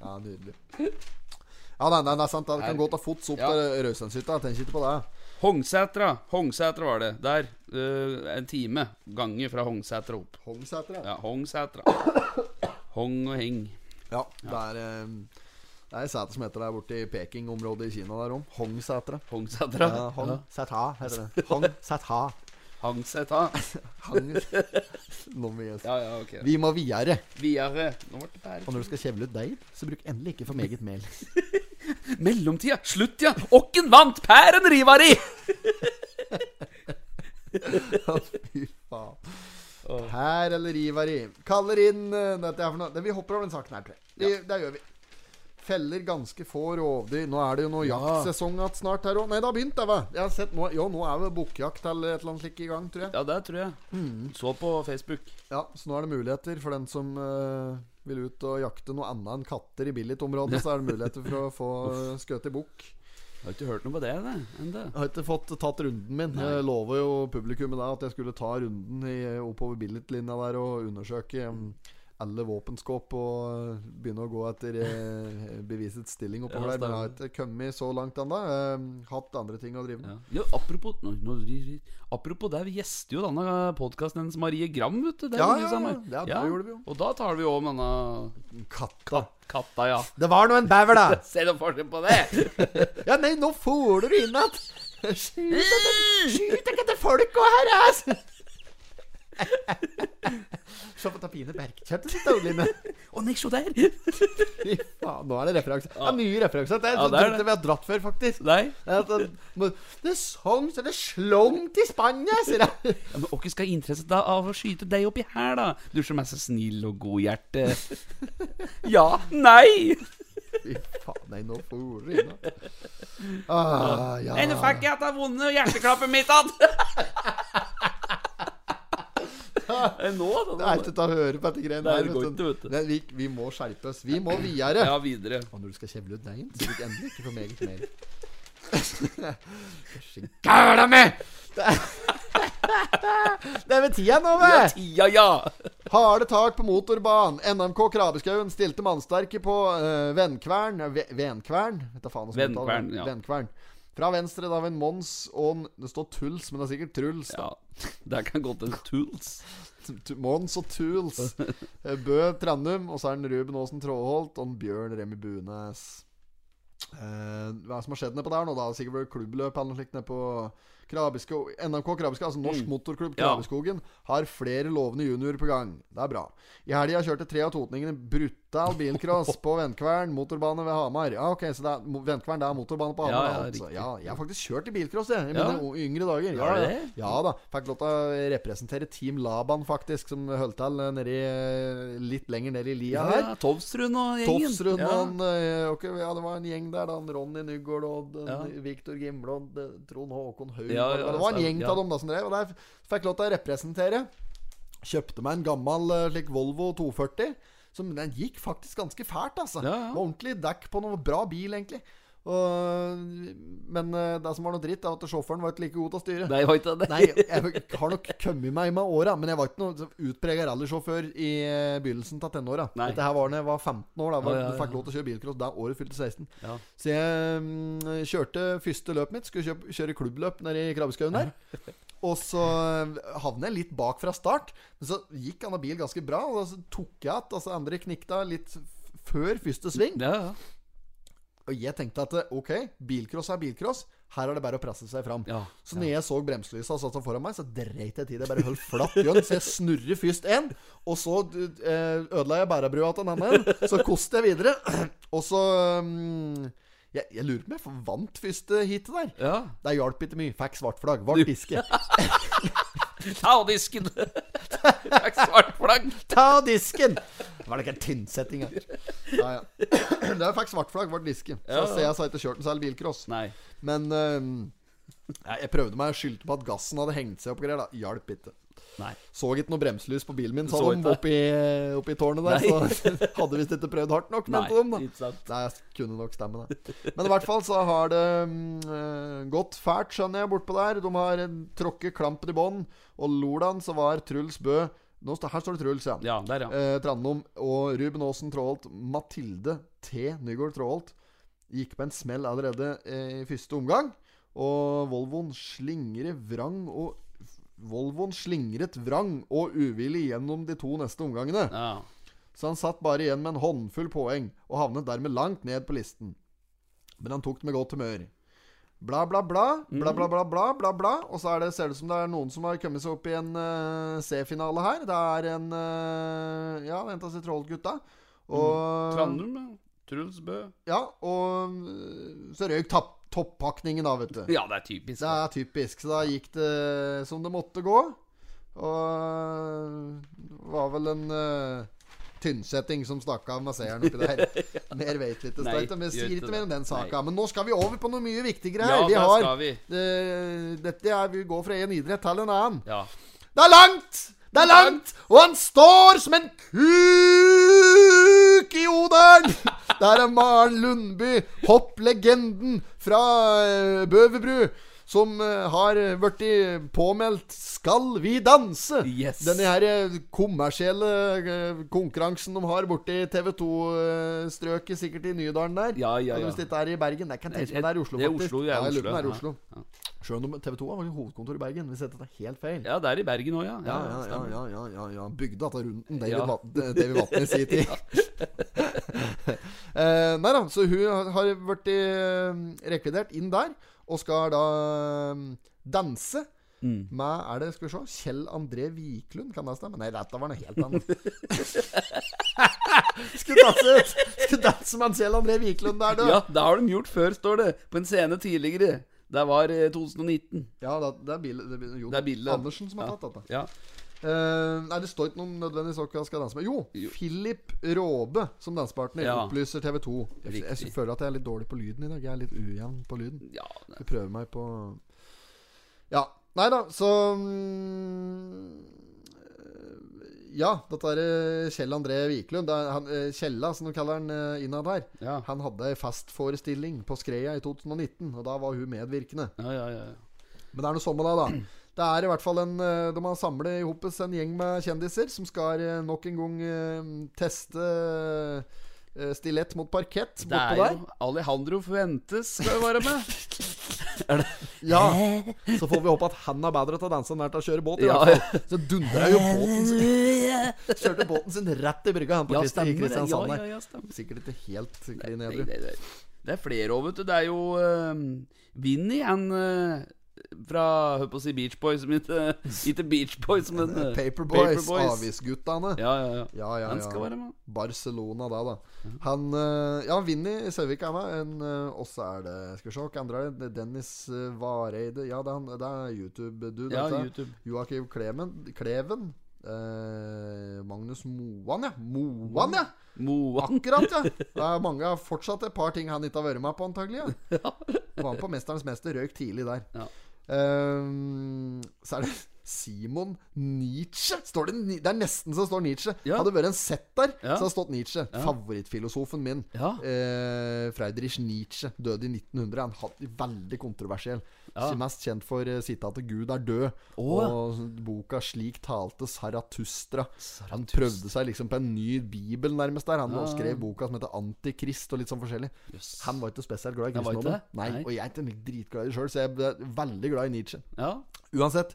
Speaker 2: Ja, nydelig. Ja, nei, nei, det er sant. da. Du kan
Speaker 1: Herregud.
Speaker 2: gå til fots opp
Speaker 1: Ja.
Speaker 2: til Rausandshytta. Jeg Tenker ikke på det.
Speaker 1: Hongsetra. Hongsetra var det. Der. eh, en time gange fra Hongsetra opp.
Speaker 2: Hongseter, ja.
Speaker 1: Ja, Hongsetra. Hong og heng.
Speaker 2: Ja, det er eh, Det er et sete som heter det borte i Peking-området i Kina der om. Hongsetra.
Speaker 1: Hongsetra.
Speaker 2: Ja, Hong Seta heter det. Hong Seta.
Speaker 1: Hangseta.
Speaker 2: Hong (laughs) Nå må vi gjøre
Speaker 1: Ja, ja, ok.
Speaker 2: Vi må videre.
Speaker 1: Videre. Nå ble det
Speaker 2: Og
Speaker 1: ferdig.
Speaker 2: når du skal kjevle ut deig, så bruk endelig ikke for meget mel.
Speaker 1: Mellomtida. Slutt, ja. Åkken vant. Pæren rivari.
Speaker 2: Ja, Fy faen. Her eller Ivari. Kaller inn eh, dette er for noe. det- Vi hopper over den saken her, tror jeg. Det, det gjør vi. Feller ganske få rovdyr. Nå er det jo noe jaktsesong igjen snart her òg. Nei, det har begynt, det, hva? Jeg har sett nå Jo, nå er vel bukkjakt eller et eller annet slikt i gang, tror jeg.
Speaker 1: Ja, det tror jeg. Så på Facebook.
Speaker 2: Ja, så nå er det muligheter for den som eh, vil ut og jakte noe annet enn katter i Billit-området. Så er det muligheter for å få skutt i bukk.
Speaker 1: Jeg har ikke hørt noe på det det, enda.
Speaker 2: Jeg har ikke fått tatt runden min. Jeg lover jo publikummet da at jeg skulle ta runden i, oppover Billit-linja der og undersøke em, alle våpenskåp og eh, begynne å gå (laughs) etter eh, bevisets stilling
Speaker 1: Ja,
Speaker 2: oppover der. Men jeg har ikke kommet så langt ennå. Hatt andre ting å drive med.
Speaker 1: Ja. Ja, apropos, nå, nå, apropos det, vi gjester jo denne podkasten hennes Marie Gram, vet du. Det
Speaker 2: Ja,
Speaker 1: gjorde vi
Speaker 2: ja,
Speaker 1: sammen.
Speaker 2: ja, det gjorde vi jo.
Speaker 1: Og da tar vi jo om denne
Speaker 2: Katta.
Speaker 1: katta, ja.
Speaker 2: Det var nå en bever, da!
Speaker 1: Se noen forskjell på det!
Speaker 2: (laughs) Ja, nei, nå får du inn at Skyt etter, skyt ikke etter folk og herre, altså! (laughs) Se på tapine bergkjøttet sitt, Oline.
Speaker 1: (laughs) Å nei, se der!
Speaker 2: Fy faen, nå er det referanse. Det er nye referanser. Det er
Speaker 1: Ja,
Speaker 2: sånn
Speaker 1: det er
Speaker 2: som
Speaker 1: det.
Speaker 2: vi har dratt før, faktisk.
Speaker 1: Nei.
Speaker 2: Det er at det- må- det er sånn så det slångt i Spania, sier jeg.
Speaker 1: Ja, men hvem skal ha interesse da av å skyte deg oppi her, da? Du som er så snill og godhjertet. (laughs) ja. Nei!
Speaker 2: Fy faen, nei, nå får du inn at ah, ja.
Speaker 1: Nei, nå fikk jeg dette vonde hjerteklappet mitt igjen! Nå,
Speaker 2: Det er ikke til å høre på dette greiene
Speaker 1: Nei,
Speaker 2: her.
Speaker 1: det går ikke, vet du.
Speaker 2: Nei, vi, vi må skjerpe oss. Vi må videre.
Speaker 1: Ja, videre.
Speaker 2: Og når du skal kjevle ut deigen, så bruk endelig ikke for meget mer.
Speaker 1: Gæla meg!
Speaker 2: Det er ved tida nå,
Speaker 1: Ja,
Speaker 2: vel!
Speaker 1: tida, ja.
Speaker 2: Harde tak på motorbanen. NMK Krabeskauen stilte mannsterke på uh, Vennkvern eh, Ve- Venkvern? Vet da faen hvordan man uttaler det.
Speaker 1: Vennkvern, ja.
Speaker 2: Vennkvern. Fra venstre da har vi en Mons og en Det står Tuls, men det er sikkert Truls. da.
Speaker 1: Ja, det kan godt hende Tools.
Speaker 2: T- T- Mons og Tuls. Eh, Bø Trandum, og så er det en Ruben Aasen Tråholt og en Bjørn Remi Bunes. Eh, hva er det som har skjedd nedpå der nå? da? Sikkert ble det klubbløp eller noe slikt nedpå Krabisko NMK Krabisko, altså Norsk Motorklubb
Speaker 1: Mm. Ja.
Speaker 2: Krabeskogen, har flere lovende juniorer på gang. Det er bra. I helga kjørte tre av totningene brutal
Speaker 1: (laughs)
Speaker 2: bilcross på Vennkvern, motorbane ved Hamar. Ja, ok, så det er, mo- Vennkvern det er motorbane på Hamar.
Speaker 1: Ja, ja,
Speaker 2: altså.
Speaker 1: riktig.
Speaker 2: ja, jeg har faktisk kjørt i bilcross, jeg. I
Speaker 1: Ja.
Speaker 2: mine o- yngre dager.
Speaker 1: Har du
Speaker 2: ja.
Speaker 1: det?
Speaker 2: Ja da. Fikk lov til å representere Team Laban, faktisk, som holdt til eh, nedi, eh, litt lenger ned i lia
Speaker 1: Ja,
Speaker 2: her.
Speaker 1: Tovsrud og gjengen.
Speaker 2: Tofsrud
Speaker 1: ja.
Speaker 2: og han, eh, ok, ja, det var en gjeng der. da, Han Ronny Nygaard og den,
Speaker 1: Ja.
Speaker 2: Viktor Gimblad, eh, Trond Håkon Haug
Speaker 1: Ja,
Speaker 2: og-
Speaker 1: ja,
Speaker 2: Det var en
Speaker 1: stemmer,
Speaker 2: gjeng
Speaker 1: ja.
Speaker 2: av dem da som drev. Og der fikk jeg lov til å representere. Kjøpte meg en gammel eh, slik Volvo 240. Som den gikk faktisk ganske fælt, altså.
Speaker 1: Ja, ja.
Speaker 2: Det var ordentlig dekk på noe bra bil, egentlig. Og, men eh, det som var noe dritt, er at sjåføren var ikke like god til å styre.
Speaker 1: Nei, var ikke det? (laughs)
Speaker 2: Nei, jeg har nok kommet meg med åra, men jeg var ikke noen utprega rallysjåfør i eh, begynnelsen av tenåra.
Speaker 1: Nei.
Speaker 2: Dette her var da jeg var 15 år. Da var,
Speaker 1: Ja, ja, ja.
Speaker 2: Du fikk lov til å kjøre bilcross da året fylte 16.
Speaker 1: Ja.
Speaker 2: Så jeg mm, kjørte første løpet mitt. Skulle kjøpe, kjøre klubbløp nede i Krabbeskauen
Speaker 1: (laughs)
Speaker 2: der. Og så eh, havnet jeg litt bak fra start, men så gikk han av bil ganske bra. Og så tok jeg igjen. Altså, andre knikta litt f- før første sving.
Speaker 1: Ja, ja.
Speaker 2: Og jeg tenkte at eh, ok, bilcross er bilcross. Her er det bare å presse seg fram.
Speaker 1: Ja,
Speaker 2: så når jeg så bremselysa satt sånn foran meg, så dreit jeg til det. Jeg bare holdt flatt gjønn, så jeg snurrer først én, og så eh, ødela jeg bærebrua til den andre. Så koste jeg videre. (clears throat) Og så mm, jeg, jeg lurer på om jeg for- vant første heatet der.
Speaker 1: Ja.
Speaker 2: Det hjalp ikke mye. Fikk svart flagg. Vart diske.
Speaker 1: Ta av disken! (laughs) Fikk svart flagg.
Speaker 2: Ta disken! Det var ikke en tynnsetting her. Ja, (clears throat) ja. Der fikk svart flagg, vart diske. Så
Speaker 1: Ja, ja.
Speaker 2: ser jeg så ikke kjørt den særlig bilcross.
Speaker 1: Nei.
Speaker 2: Men øhm, jeg, jeg prøvde meg, jeg skyldte på at gassen hadde hengt seg opp og greier. da Hjalp ikke.
Speaker 1: Nei.
Speaker 2: Så ikke noe bremselys på bilen min, sa
Speaker 1: Så
Speaker 2: de
Speaker 1: ikke.
Speaker 2: oppi, oppi tårnet der.
Speaker 1: Nei.
Speaker 2: Så (laughs) hadde visst ikke prøvd hardt nok,
Speaker 1: Nei,
Speaker 2: mente de. da
Speaker 1: ikke sant.
Speaker 2: Nei, jeg kunne nok stemme det. Men i hvert fall så har det mm, øh, gått fælt, skjønner jeg, bortpå der. De har eh, tråkket klampen i bånn. Og Lolan så var Truls Bø nå, sta- Her står det Truls, ja.
Speaker 1: Ja, der, ja.
Speaker 2: Eh, Trandum og Ruben Aasen Tråholt. Mathilde T. Nygaard Tråholt gikk på en smell allerede eh, i første omgang. Og Volvoen slingrer vrang og Volvoen slingret vrang og uvillig gjennom de to neste omgangene.
Speaker 1: ja.
Speaker 2: Så han satt bare igjen med en håndfull poeng, og havnet dermed langt ned på listen. Men han tok det med godt humør. Bla, bla, bla, bla, bla, bla, bla, bla, bla. Og så er det, ser det ut som det er noen som har kommet seg opp i en eh, C-finale her. Det er en eh, Ja, vent og se Trollgutta. Og
Speaker 1: Mm. Trandum, ja. Truls Bø.
Speaker 2: Ja, og eh, så røyk tapp- toppakningen, da, vet du.
Speaker 1: Ja, det er typisk.
Speaker 2: Det
Speaker 1: da.
Speaker 2: er typisk. Så da gikk det som det måtte gå. Og det var vel en eh, tynnsetting som stakk av med seieren oppi
Speaker 1: (laughs)
Speaker 2: der. Mer vet vi ikke.
Speaker 1: Nei,
Speaker 2: Stein, Vi
Speaker 1: gjør
Speaker 2: sier
Speaker 1: ikke
Speaker 2: ikke mer om
Speaker 1: det.
Speaker 2: den
Speaker 1: Nei.
Speaker 2: saka. Men nå skal vi over på noe mye viktigere her.
Speaker 1: Ja,
Speaker 2: vi
Speaker 1: der
Speaker 2: har
Speaker 1: skal vi.
Speaker 2: eh, Dette er Vi går fra en idrett til en annen.
Speaker 1: Ja.
Speaker 2: Det er langt! Det er langt! Og han står som en kuk i oderen! Der er Maren Lundby, hopplegenden fra eh, Bøverbru, som eh, har vært i påmeldt 'Skal vi danse'?
Speaker 1: Yes.
Speaker 2: Denne her eh, kommersielle eh, konkurransen de har borti TV2-strøket, eh, sikkert i Nydalen der.
Speaker 1: Ja, ja, ja.
Speaker 2: Hvis det ikke er i Bergen. Nei, kan jeg tenke meg det er i Oslo,
Speaker 1: Det er
Speaker 2: faktisk.
Speaker 1: Oslo, det er
Speaker 2: ja, jeg
Speaker 1: Oslo,
Speaker 2: lurer på om det er i
Speaker 1: ja.
Speaker 2: Oslo. Selv om TV2 har jo hovedkontor i Bergen, hvis dette er helt feil.
Speaker 1: ja, det er i Bergen òg, ja. ja,
Speaker 2: Ja, ja, ja,
Speaker 1: stemmer.
Speaker 2: ja, ja, ja, ja. Bygda til runden David,
Speaker 1: Ja.
Speaker 2: ja. David Vatn i sin
Speaker 1: (laughs)
Speaker 2: tid. (laughs) Eh, nei da, så hun har- har vært i, eh, rekvidert inn der, og skal da eh, danse
Speaker 1: Mm.
Speaker 2: med Er det, skal vi se Kjell André Wiklund, kan det stemme? Nei, dette var noe helt
Speaker 1: (laughs)
Speaker 2: annet. skulle danse Skulle danse med en Kjell André Wiklund der, du.
Speaker 1: Ja, det har de gjort før, står det. På en scene tidligere. Det var eh, 2019.
Speaker 2: Ja, det, det er Bill- det er Jon
Speaker 1: Det er bildet.
Speaker 2: Andersen som har
Speaker 1: Ja.
Speaker 2: tatt dette.
Speaker 1: Ja.
Speaker 2: Eh, nei, det står ikke noen nødvendigvis hva jeg skal danse med. Jo,
Speaker 1: Jo.
Speaker 2: Philip Råbe som dansepartner
Speaker 1: Ja.
Speaker 2: opplyser TV 2. Jeg,
Speaker 1: Riktig.
Speaker 2: jeg føler at jeg er litt dårlig på lyden i dag. Jeg er litt ujevn på lyden.
Speaker 1: ja det-
Speaker 2: Skal prøve meg på Ja. Nei da, så mm, Ja, dette er eh, Kjell André Wiklund. Det er han, eh, Kjella, som de kaller han eh, innad her.
Speaker 1: Ja.
Speaker 2: Han hadde ei festforestilling på Skreia i 2019, og da var hun medvirkende.
Speaker 1: Ja, ja, ja.
Speaker 2: Men det er noe sånn med det, da. Det er i hvert fall en eh, De har samlet i hopet en gjeng med kjendiser som skal eh, nok en gang eh, teste Eh, Stilett mot parkett
Speaker 1: Det
Speaker 2: bortpå
Speaker 1: er
Speaker 2: der.
Speaker 1: jo Alejandro Fuentes skal jo
Speaker 2: (laughs)
Speaker 1: være med.
Speaker 2: Ja, Så får vi håpe at han er bedre til å danse enn han er til å kjøre båt. I
Speaker 1: Ja.
Speaker 2: hvert fall. Så dundra jo båten sin Kjørte båten sin rett i brygga, han på
Speaker 1: Ja,
Speaker 2: Christ- i
Speaker 1: stemmer det. Ja,
Speaker 2: Kristiansand
Speaker 1: ja,
Speaker 2: der.
Speaker 1: ja, stemmer.
Speaker 2: Sikkert ikke helt klin
Speaker 1: Nei,
Speaker 2: edru.
Speaker 1: det, det, det er flere òg, vet du. Det er jo uh, Vinny, han eh, fra Hør på å si Beach Boys, men ikke, (laughs) ikke Beach Boys, men eh,
Speaker 2: Paperboys,
Speaker 1: Paperboys.
Speaker 2: Avisguttane.
Speaker 1: Ja, ja, ja.
Speaker 2: Ja, ja,
Speaker 1: Han
Speaker 2: ja.
Speaker 1: skal være med.
Speaker 2: Barcelona da, da. Han eh, Ja, Vinni Søvik er med. En, eh, også er det Skal vi se, hvem andre er det? Dennis eh, Vareide. Ja, det er, han- det er YouTube-dude.
Speaker 1: Ja,
Speaker 2: dette.
Speaker 1: YouTube.
Speaker 2: Joakim Kleven. Kleven. Eh, Magnus Moan, ja. Moan, ja!
Speaker 1: Moan.
Speaker 2: Akkurat, ja. Det er mange har fortsatt et par ting han ikke har vært med på, antagelig.
Speaker 1: (laughs)
Speaker 2: Ja. Var med på 'Mesterens mester', røyk tidlig der.
Speaker 1: Ja.
Speaker 2: Ehm, så er det Simon Nietzsche. Står det, Ni- det er nesten så det står Nietzsche.
Speaker 1: Ja.
Speaker 2: Hadde det vært en Z der,
Speaker 1: Ja.
Speaker 2: så hadde det stått Nietzsche. Favorittfilosofen min.
Speaker 1: Ja.
Speaker 2: Eh, Friedrich Nietzsche døde i 1900. Han hadde veldig kontroversiell.
Speaker 1: Ja.
Speaker 2: Mest kjent for eh, sitatet 'Gud er død'
Speaker 1: Å, ja.
Speaker 2: og boka 'Slik talte Saratustra'. Han prøvde seg liksom på en ny bibel, nærmest. der Han skrev boka som heter 'Antikrist' og litt sånn forskjellig.
Speaker 1: Jøss.
Speaker 2: Han var ikke spesielt glad i
Speaker 1: Han var ikke
Speaker 2: kristendommen.
Speaker 1: det?
Speaker 2: Nei,
Speaker 1: Nei.
Speaker 2: Og jeg er ikke dritglad i det sjøl, så jeg er veldig glad i Nietzsche.
Speaker 1: Ja.
Speaker 2: Uansett.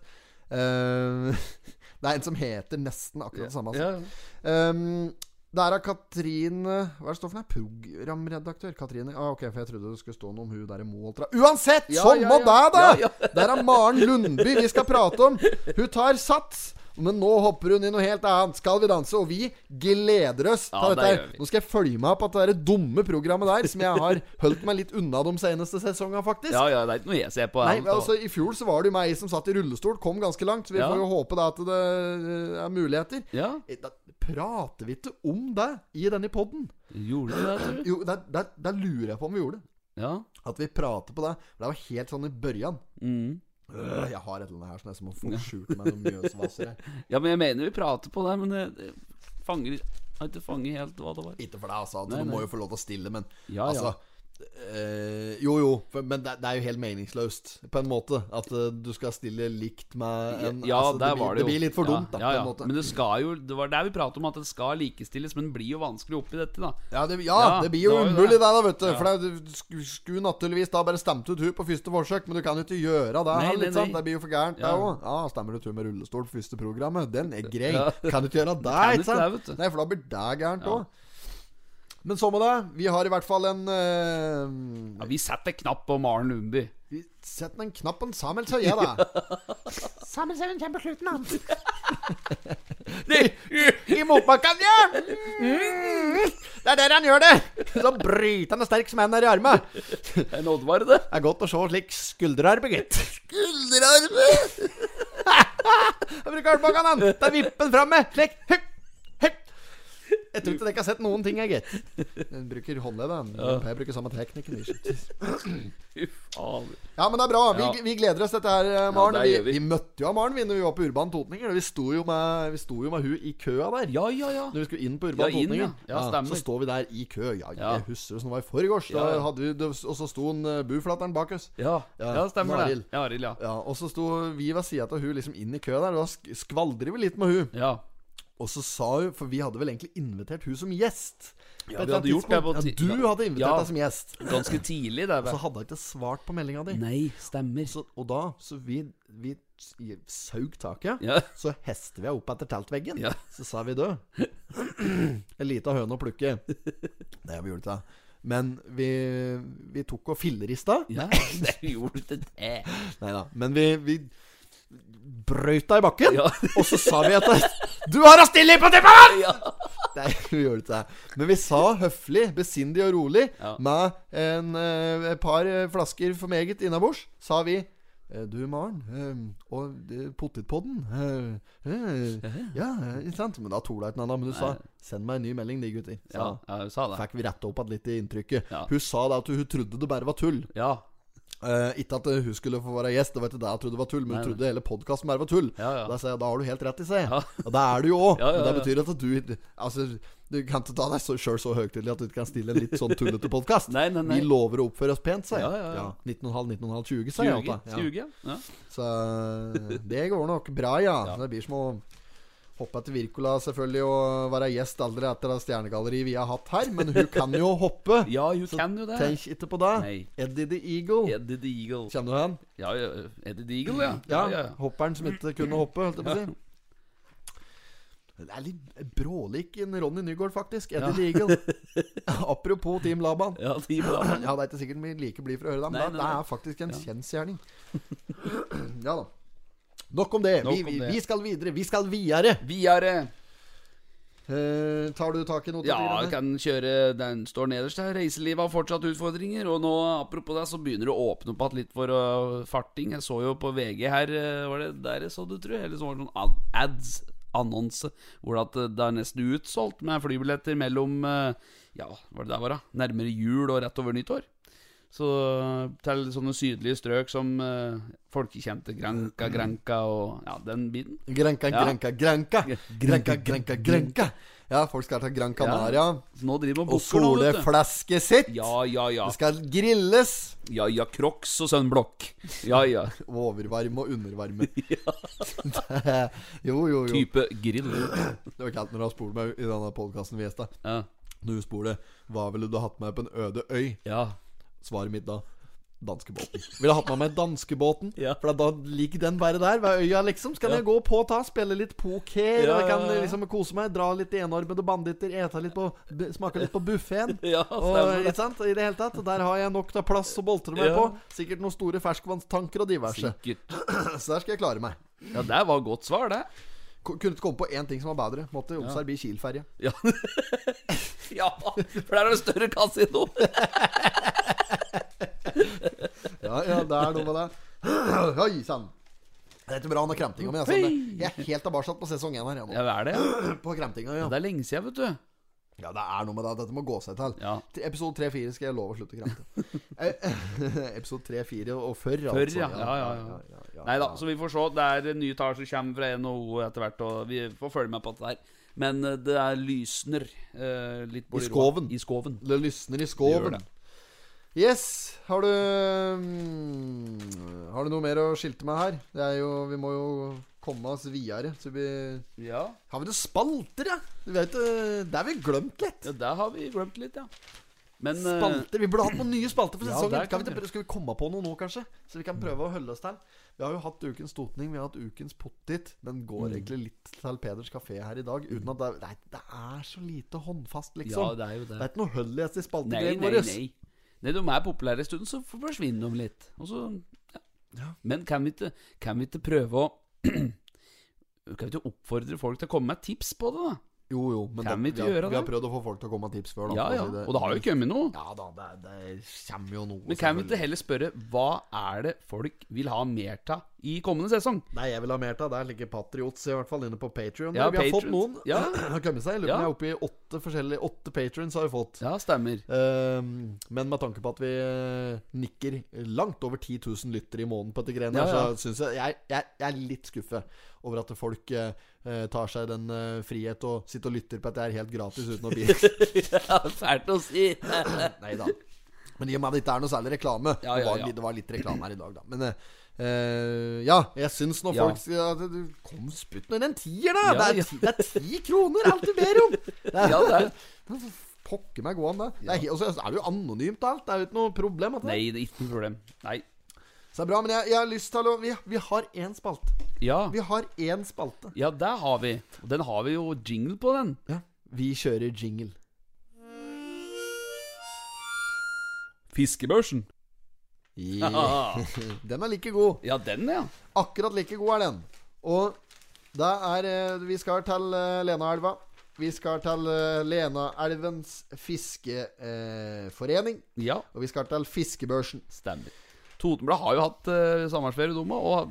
Speaker 2: eh, (laughs) det er en som heter nesten akkurat det samme. Altså.
Speaker 1: ja.
Speaker 2: Um, det er av Katrine Hva er det står for noe? Programredaktør? Katrine ah, Ok, for jeg trodde det skulle stå noe om hun der i Måltra. Uansett!
Speaker 1: Ja,
Speaker 2: sånn
Speaker 1: ja,
Speaker 2: må
Speaker 1: ja.
Speaker 2: det, da!
Speaker 1: Ja, (laughs)
Speaker 2: Der er Maren Lundby vi skal prate om. Hun tar sats. Men nå hopper hun i noe helt annet. Skal vi danse? Og vi gleder oss
Speaker 1: Ja, det
Speaker 2: til dette. her.
Speaker 1: gjør vi.
Speaker 2: Nå skal jeg følge meg opp at det der dumme programmet der, som jeg har holdt meg litt unna de seneste sesongene, faktisk.
Speaker 1: ja, ja, det er ikke noe jeg ser på.
Speaker 2: Nei,
Speaker 1: han, så-
Speaker 2: altså I fjor så var det jo meg som satt i rullestol, kom ganske langt. Så vi
Speaker 1: Ja.
Speaker 2: får jo håpe da at det eh, er muligheter.
Speaker 1: ja,
Speaker 2: Eh, Da prater vi ikke om det i denne poden.
Speaker 1: gjorde du det, tror du?
Speaker 2: Jo, der, der, der lurer jeg på om vi gjorde det.
Speaker 1: Ja.
Speaker 2: At vi prater på det. For det var helt sånn i børjan.
Speaker 1: Mm.
Speaker 2: Øh, jeg har et eller annet her som jeg som må få skjult meg noen mjøsvassere.
Speaker 1: (laughs) ja, men jeg mener vi prater på det, men det, det fanger Jeg har ikke fanget helt hva det var.
Speaker 2: Ikke for deg, altså. altså
Speaker 1: Nei,
Speaker 2: du
Speaker 1: nei.
Speaker 2: må jo få lov til å stille, men
Speaker 1: Ja, ja.
Speaker 2: altså eh, jo, jo, for, men det, det er jo helt meningsløst, på en måte. At eh, du skal stille likt med en
Speaker 1: Ja,
Speaker 2: altså,
Speaker 1: der
Speaker 2: det, blir,
Speaker 1: var det jo
Speaker 2: det blir litt for
Speaker 1: ja,
Speaker 2: dumt, da.
Speaker 1: Ja, ja.
Speaker 2: På en måte.
Speaker 1: Men det skal jo Det var der vi pratet om at det skal likestilles, men det blir jo vanskelig oppi dette, da.
Speaker 2: Ja, det, ja,
Speaker 1: Ja,
Speaker 2: det blir jo
Speaker 1: det var jo
Speaker 2: umulig
Speaker 1: det.
Speaker 2: det, da, vet du.
Speaker 1: Ja.
Speaker 2: For det, du sku- skulle naturligvis da bare stemt ut hun på første forsøk, men du kan jo ikke gjøre det.
Speaker 1: Nei,
Speaker 2: her,
Speaker 1: nei,
Speaker 2: litt sant?
Speaker 1: nei.
Speaker 2: Det blir jo for gærent, det
Speaker 1: Ja.
Speaker 2: òg. Ja, stemmer ut hun med rullestol på første programmet? Den er grei.
Speaker 1: Ja.
Speaker 2: Kan du ikke gjøre det,
Speaker 1: kan
Speaker 2: ikke
Speaker 1: ikke det, vet
Speaker 2: sant?
Speaker 1: du.
Speaker 2: Nei, for da blir det gærent
Speaker 1: Ja.
Speaker 2: òg. Men så med det. Vi har i hvert fall en eh,
Speaker 1: Ja, vi setter knapp på Maren Lundby.
Speaker 2: vi Sett den knappen sammen, sier jeg da.
Speaker 6: Sammen ser hun kjempe slutten, han.
Speaker 2: I motbakken, ja!
Speaker 6: Det er der han gjør det!
Speaker 2: Så brytende sterk som en er i armen.
Speaker 1: En Oddvar, det.
Speaker 2: Det er godt å se slik skulderarbeid, gitt. Jeg bruker armbåndene, han. Da vipper han fram med. Slik. Hup, hup. Jeg tror ikke dere har sett noen ting, jeg, gitt. Den bruker håndleddet. han. Jeg bruker samme teknikken. ikke?
Speaker 1: Fy faen.
Speaker 2: Ja, men det er bra. Vi,
Speaker 1: Ja.
Speaker 2: vi gleder oss til dette her, eh, Maren.
Speaker 1: det
Speaker 2: vi,
Speaker 1: gjør vi.
Speaker 2: vi møtte jo av Maren vi, når vi var på Urban Totninger. og Vi sto jo med, vi sto jo med hun i køa der.
Speaker 1: Ja, ja, ja.
Speaker 2: Når vi skulle inn på
Speaker 1: Ja,
Speaker 2: Urban
Speaker 1: inn,
Speaker 2: Totninger,
Speaker 1: ja. Ja, stemmer.
Speaker 2: så står vi der i kø. Ja,
Speaker 1: Ja.
Speaker 2: jeg husker det som det var i forgårs. Da
Speaker 1: Ja, ja.
Speaker 2: hadde vi, det- og så sto en eh, buflatteren bak oss.
Speaker 1: Ja,
Speaker 2: Ja,
Speaker 1: ja, stemmer
Speaker 2: Arild.
Speaker 1: det. Ja, Arild, ja.
Speaker 2: Ja, og så sto vi ved sida av hun liksom inn i køa der, og da sk- skvaldrer vi litt med hun.
Speaker 1: ja.
Speaker 2: Og så sa hun, for vi hadde vel egentlig invitert hun som gjest.
Speaker 1: Ja,
Speaker 2: På et
Speaker 1: vi
Speaker 2: eller annet
Speaker 1: hadde gjort det på
Speaker 2: tidspunkt.
Speaker 1: ti-
Speaker 2: ja, Du hadde invitert
Speaker 1: Ja.
Speaker 2: deg som gjest.
Speaker 1: Ganske tidlig, det.
Speaker 2: Og så
Speaker 1: vel.
Speaker 2: hadde hun ikke svart på meldinga di.
Speaker 1: Nei, stemmer.
Speaker 2: Altså, Så, og da, så vi, vi s- i- saug taket,
Speaker 1: Ja.
Speaker 2: så hester vi henne opp etter teltveggen.
Speaker 1: Ja.
Speaker 2: Så sa vi død. (clears throat) En lita høne
Speaker 1: (laughs)
Speaker 2: å plukke. Det vi gjorde ikke. Men vi, vi tok og fillerista.
Speaker 1: (laughs)
Speaker 2: (laughs)
Speaker 1: Ja, det gjorde du det.
Speaker 2: Nei da. Men vi, vi brøyt deg i bakken,
Speaker 1: Ja.
Speaker 2: og så sa vi at Du har å stille på tippen!
Speaker 1: Ja.
Speaker 2: Nei, (laughs) vi gjorde ikke det. Men vi sa høflig, besindig og rolig,
Speaker 1: Ja.
Speaker 2: med en, eh, et par eh, flasker for meget innabords, sa vi eh, du, Maren, eh, og eh, potetpodden eh, eh,
Speaker 1: (laughs)
Speaker 2: Ja, eh, ikke sant? Men da tok det ikke noe annet. Men du sa 'send meg en ny melding, de gutter'. sa
Speaker 1: Ja,
Speaker 2: hun.
Speaker 1: ja, hun sa det.
Speaker 2: Fikk vi retta opp at litt i inntrykket.
Speaker 1: Ja.
Speaker 2: Hun sa da at hun trodde det bare var tull.
Speaker 1: Ja.
Speaker 2: Eh, ikke at eh, hun skulle få være gjest, det var ikke det jeg trodde var tull, men hun
Speaker 1: Nei, nei.
Speaker 2: trodde hele podkasten bare var tull.
Speaker 1: Ja, ja.
Speaker 2: Da sa jeg da har du helt rett i seg.
Speaker 1: Ja.
Speaker 2: Og det er du jo òg.
Speaker 1: Ja, ja,
Speaker 2: Men det
Speaker 1: ja.
Speaker 2: betyr at du ikke- Altså, du kan ikke ta deg sjøl så høytidelig at du ikke kan stille en litt sånn tullete podkast.
Speaker 1: Nei, nei, nei.
Speaker 2: Vi lover å oppføre oss pent, sa jeg.
Speaker 1: Ja, ja, ja.
Speaker 2: 19,5, 19,5, 20, sa jeg.
Speaker 1: Skjuge.
Speaker 2: alt da. Ja.
Speaker 1: Skjuge, ja.
Speaker 2: Så eh, det går nok bra, ja.
Speaker 1: Ja.
Speaker 2: Det blir som å Hoppe etter Wirkola selvfølgelig og være gjest aldri etter det stjernegalleriet vi har hatt her, men hun kan jo hoppe.
Speaker 1: (laughs) Ja, hun kan jo det.
Speaker 2: Tenk ikke på det.
Speaker 1: Nei.
Speaker 2: Eddie the Eagle.
Speaker 1: Eddie the Eagle.
Speaker 2: Kjenner du han?
Speaker 1: Ja, ja, Eddie the Eagle, ja.
Speaker 2: Ja, hopperen som ikke kunne hoppe, holdt jeg på å si. Det er litt brålik en Ronny Nygaard, faktisk. Eddie
Speaker 1: (laughs)
Speaker 2: the Eagle. Apropos Team Laban.
Speaker 1: Ja, de (clears throat) bra.
Speaker 2: Ja, det er ikke sikkert vi like blid for å høre det, men
Speaker 1: Nei,
Speaker 2: det-
Speaker 1: nei, nei.
Speaker 2: det er faktisk en kjensgjerning. (clears throat) ja da. Nok om det. vi,
Speaker 1: Nok om
Speaker 2: vi,
Speaker 1: det.
Speaker 2: vi skal videre. Vi skal videre.
Speaker 1: Videre.
Speaker 2: Eh, tar du tak i noe? til
Speaker 1: Ja, vi
Speaker 2: grann?
Speaker 1: kan kjøre Den står nederst her. Reiselivet har fortsatt utfordringer. Og nå, apropos det, så begynner det å åpne opp igjen litt for øh, farting. Jeg så jo på VG her øh, Var det der jeg så det, tror jeg? Eller så var det noen ad ads. Annonse hvor at øh, det er nesten utsolgt med flybilletter mellom øh, Ja, hva var det der var, da? Nærmere jul og rett over nyttår. Så øh, til sånne sydlige strøk som øh, folkekjente Granca, Granca og ja, den biten.
Speaker 2: Grenka,
Speaker 1: Ja.
Speaker 2: grenka, grenka. Grenka,
Speaker 1: Grenka,
Speaker 2: grenka, grenka. Ja, folk skal ta Gran Canaria
Speaker 1: Så nå driver man
Speaker 2: og
Speaker 1: booker nå, vet du.
Speaker 2: soleflasket sitt.
Speaker 1: Ja, ja, ja.
Speaker 2: Det skal grilles.
Speaker 1: Ja, ja, Crocs og sønnblokk. Ja, ja.
Speaker 2: Overvarme og
Speaker 1: (laughs)
Speaker 2: undervarme. Det- (laughs) jo, jo, jo.
Speaker 1: Type grill.
Speaker 2: Det var ikke helt når du har spurt meg i denne podkasten vi gjesta.
Speaker 1: Ja.
Speaker 2: Når du spør det hva ville du hatt med på en øde øy,
Speaker 1: ja.
Speaker 2: svaret mitt da Danskebåten. Ville hatt med meg danskebåten.
Speaker 1: Ja.
Speaker 2: For da ligger den bare der ved øya, liksom. Så kan jeg gå på og ta, spille litt poker,
Speaker 1: Ja,
Speaker 2: og jeg kan
Speaker 1: ja, ja.
Speaker 2: liksom kose meg. Dra litt enarmede banditter, ete litt på b- Smake litt på buffeen.
Speaker 1: (laughs) Ja,
Speaker 2: Og,
Speaker 1: stemmer det.
Speaker 2: ikke sant? I det hele tatt. Der har jeg nok til plass å boltre meg
Speaker 1: Ja.
Speaker 2: på. Sikkert noen store ferskvannstanker og diverse.
Speaker 1: Sikkert.
Speaker 2: Så der skal jeg klare meg.
Speaker 1: Ja, det var godt svar, det.
Speaker 2: Ko- Kunne ikke komme på én ting som var bedre. Måtte observere Kiel-ferje.
Speaker 1: Ja. ja, for der er det større kasino.
Speaker 2: Ja, ja, det er noe med det. (clears throat) Oi sann. Det er ikke bra når kremtinga mi. Altså. Jeg er helt tilbake på sesong én her. Jeg,
Speaker 1: Ja, det er det. Ja,
Speaker 2: nå. (clears throat) På kremtinga, ja.
Speaker 1: Det er lenge siden, vet du.
Speaker 2: Ja, det er noe med det. Dette må gå seg til.
Speaker 1: Ja.
Speaker 2: Til episode 3-4 skal jeg love å slutte å
Speaker 1: (laughs)
Speaker 2: kremte. Eh, (clears throat) episode 3-4 og før, altså,
Speaker 1: Før, ja. Ja, ja, ja. Nei da, så vi får se. Det er nye tall som kommer fra NHO etter hvert, og vi får følge med på dette her. Men eh, det er lysner eh, litt borti roa.
Speaker 2: skoven.
Speaker 1: I skoven.
Speaker 2: Det lysner i
Speaker 1: Det
Speaker 2: skoven.
Speaker 1: gjør det.
Speaker 2: Yes. Har du mm, Har du noe mer å skilte med her? Det er jo Vi må jo komme oss videre. Så vi
Speaker 1: Ja.
Speaker 2: Har vi noen spalter, ja? Du vet, eh, det har vi glemt litt.
Speaker 1: ja, der har vi glemt litt, ja. Men eh,
Speaker 2: Spalter. Vi burde hatt noen nye spalter for
Speaker 1: Ja,
Speaker 2: sesongen.
Speaker 1: der kan
Speaker 2: skal, vi,
Speaker 1: vi.
Speaker 2: skal vi komme på noe nå, kanskje? Så vi kan prøve å holde oss til. Vi har jo hatt Ukens Totning, vi har hatt Ukens Pottit. Den går
Speaker 1: Mm.
Speaker 2: egentlig litt til Peders kafé her i dag. Uten at det er, det er, det er så lite håndfast,
Speaker 1: ja,
Speaker 2: liksom.
Speaker 1: det er jo
Speaker 2: det
Speaker 1: det.
Speaker 2: er ikke noe hull i disse
Speaker 1: Nei,
Speaker 2: spaltegreiene
Speaker 1: nei,
Speaker 2: våre.
Speaker 1: nei. nei de er populære en stund, så f- forsvinner de litt. Og så, ja. Men kan vi, ikke, kan vi ikke prøve å (clears throat) Kan vi ikke oppfordre folk til å komme med tips på det, da?
Speaker 2: Jo, jo, men
Speaker 1: Kan vi ikke
Speaker 2: vi, har,
Speaker 1: gjøre
Speaker 2: vi har
Speaker 1: det?
Speaker 2: prøvd å få folk til å komme med tips før. Da,
Speaker 1: Ja, ja.
Speaker 2: for å si
Speaker 1: Og det har jo kommet noe.
Speaker 2: Ja da, det, det kommer jo noe.
Speaker 1: Men kan vi
Speaker 2: selvfølgelig.
Speaker 1: ikke heller spørre hva er det folk vil ha mer av i kommende sesong?
Speaker 2: Nei, jeg vil ha mer av det. Ligger Patriots i hvert fall inne på Patrion.
Speaker 1: Ja,
Speaker 2: vi har fått
Speaker 1: Patreons.
Speaker 2: noen.
Speaker 1: Ja.
Speaker 2: Har kommet seg. (clears throat) Jeg Lurer
Speaker 1: Ja.
Speaker 2: på om jeg er oppe i åtte forskjellige Åtte patrions har vi fått.
Speaker 1: Ja, stemmer.
Speaker 2: Ehm, men med tanke på at vi eh, nikker langt over 10 000 lyttere i måneden på dette greiene,
Speaker 1: Ja,
Speaker 2: her,
Speaker 1: ja.
Speaker 2: så syns jeg jeg, jeg jeg er litt skuffet over at folk eh, eh, tar seg den eh, frihet og sitter og lytter på at det er helt gratis uten å bli
Speaker 1: (laughs) Ja, Fælt å si.
Speaker 2: Nei da. Men i og med at det ikke er noe særlig reklame
Speaker 1: Ja,
Speaker 2: det,
Speaker 1: ja,
Speaker 2: var,
Speaker 1: ja.
Speaker 2: litt- det var litt reklame her i dag, da. Men eh, eh, ja, jeg syns når
Speaker 1: Ja.
Speaker 2: folk sier at du Kom, spytt nå inn en tier, da!
Speaker 1: Ja, ja.
Speaker 2: det, er ti, det er ti kroner, alt du ber om! Det er,
Speaker 1: Ja, det er-
Speaker 2: Pokker meg gå an, det. det er, he- og så er det jo anonymt, alt. Det er jo ikke noe problem. at det-
Speaker 1: Nei, det er ikke noe problem. Nei.
Speaker 2: Så det er bra, men jeg, jeg har lyst til å Vi, vi har én spalte.
Speaker 1: Ja,
Speaker 2: Vi har én spalte.
Speaker 1: ja der har vi. Og den har vi jo jingle på, den.
Speaker 2: Ja. Vi kjører
Speaker 1: (laughs)
Speaker 2: jingle.
Speaker 1: Fiskebørsen. Ja,
Speaker 2: Den er like god.
Speaker 1: ja den, ja.
Speaker 2: Akkurat like god er den. Og det er eh, Vi skal til eh, Lenaelva. Vi skal til eh, Lenaelvens fiskeforening.
Speaker 1: Ja,
Speaker 2: Og vi skal til fiskebørsen.
Speaker 1: Stemmer. Totenbladet har jo hatt uh, sommerferie, de òg. Og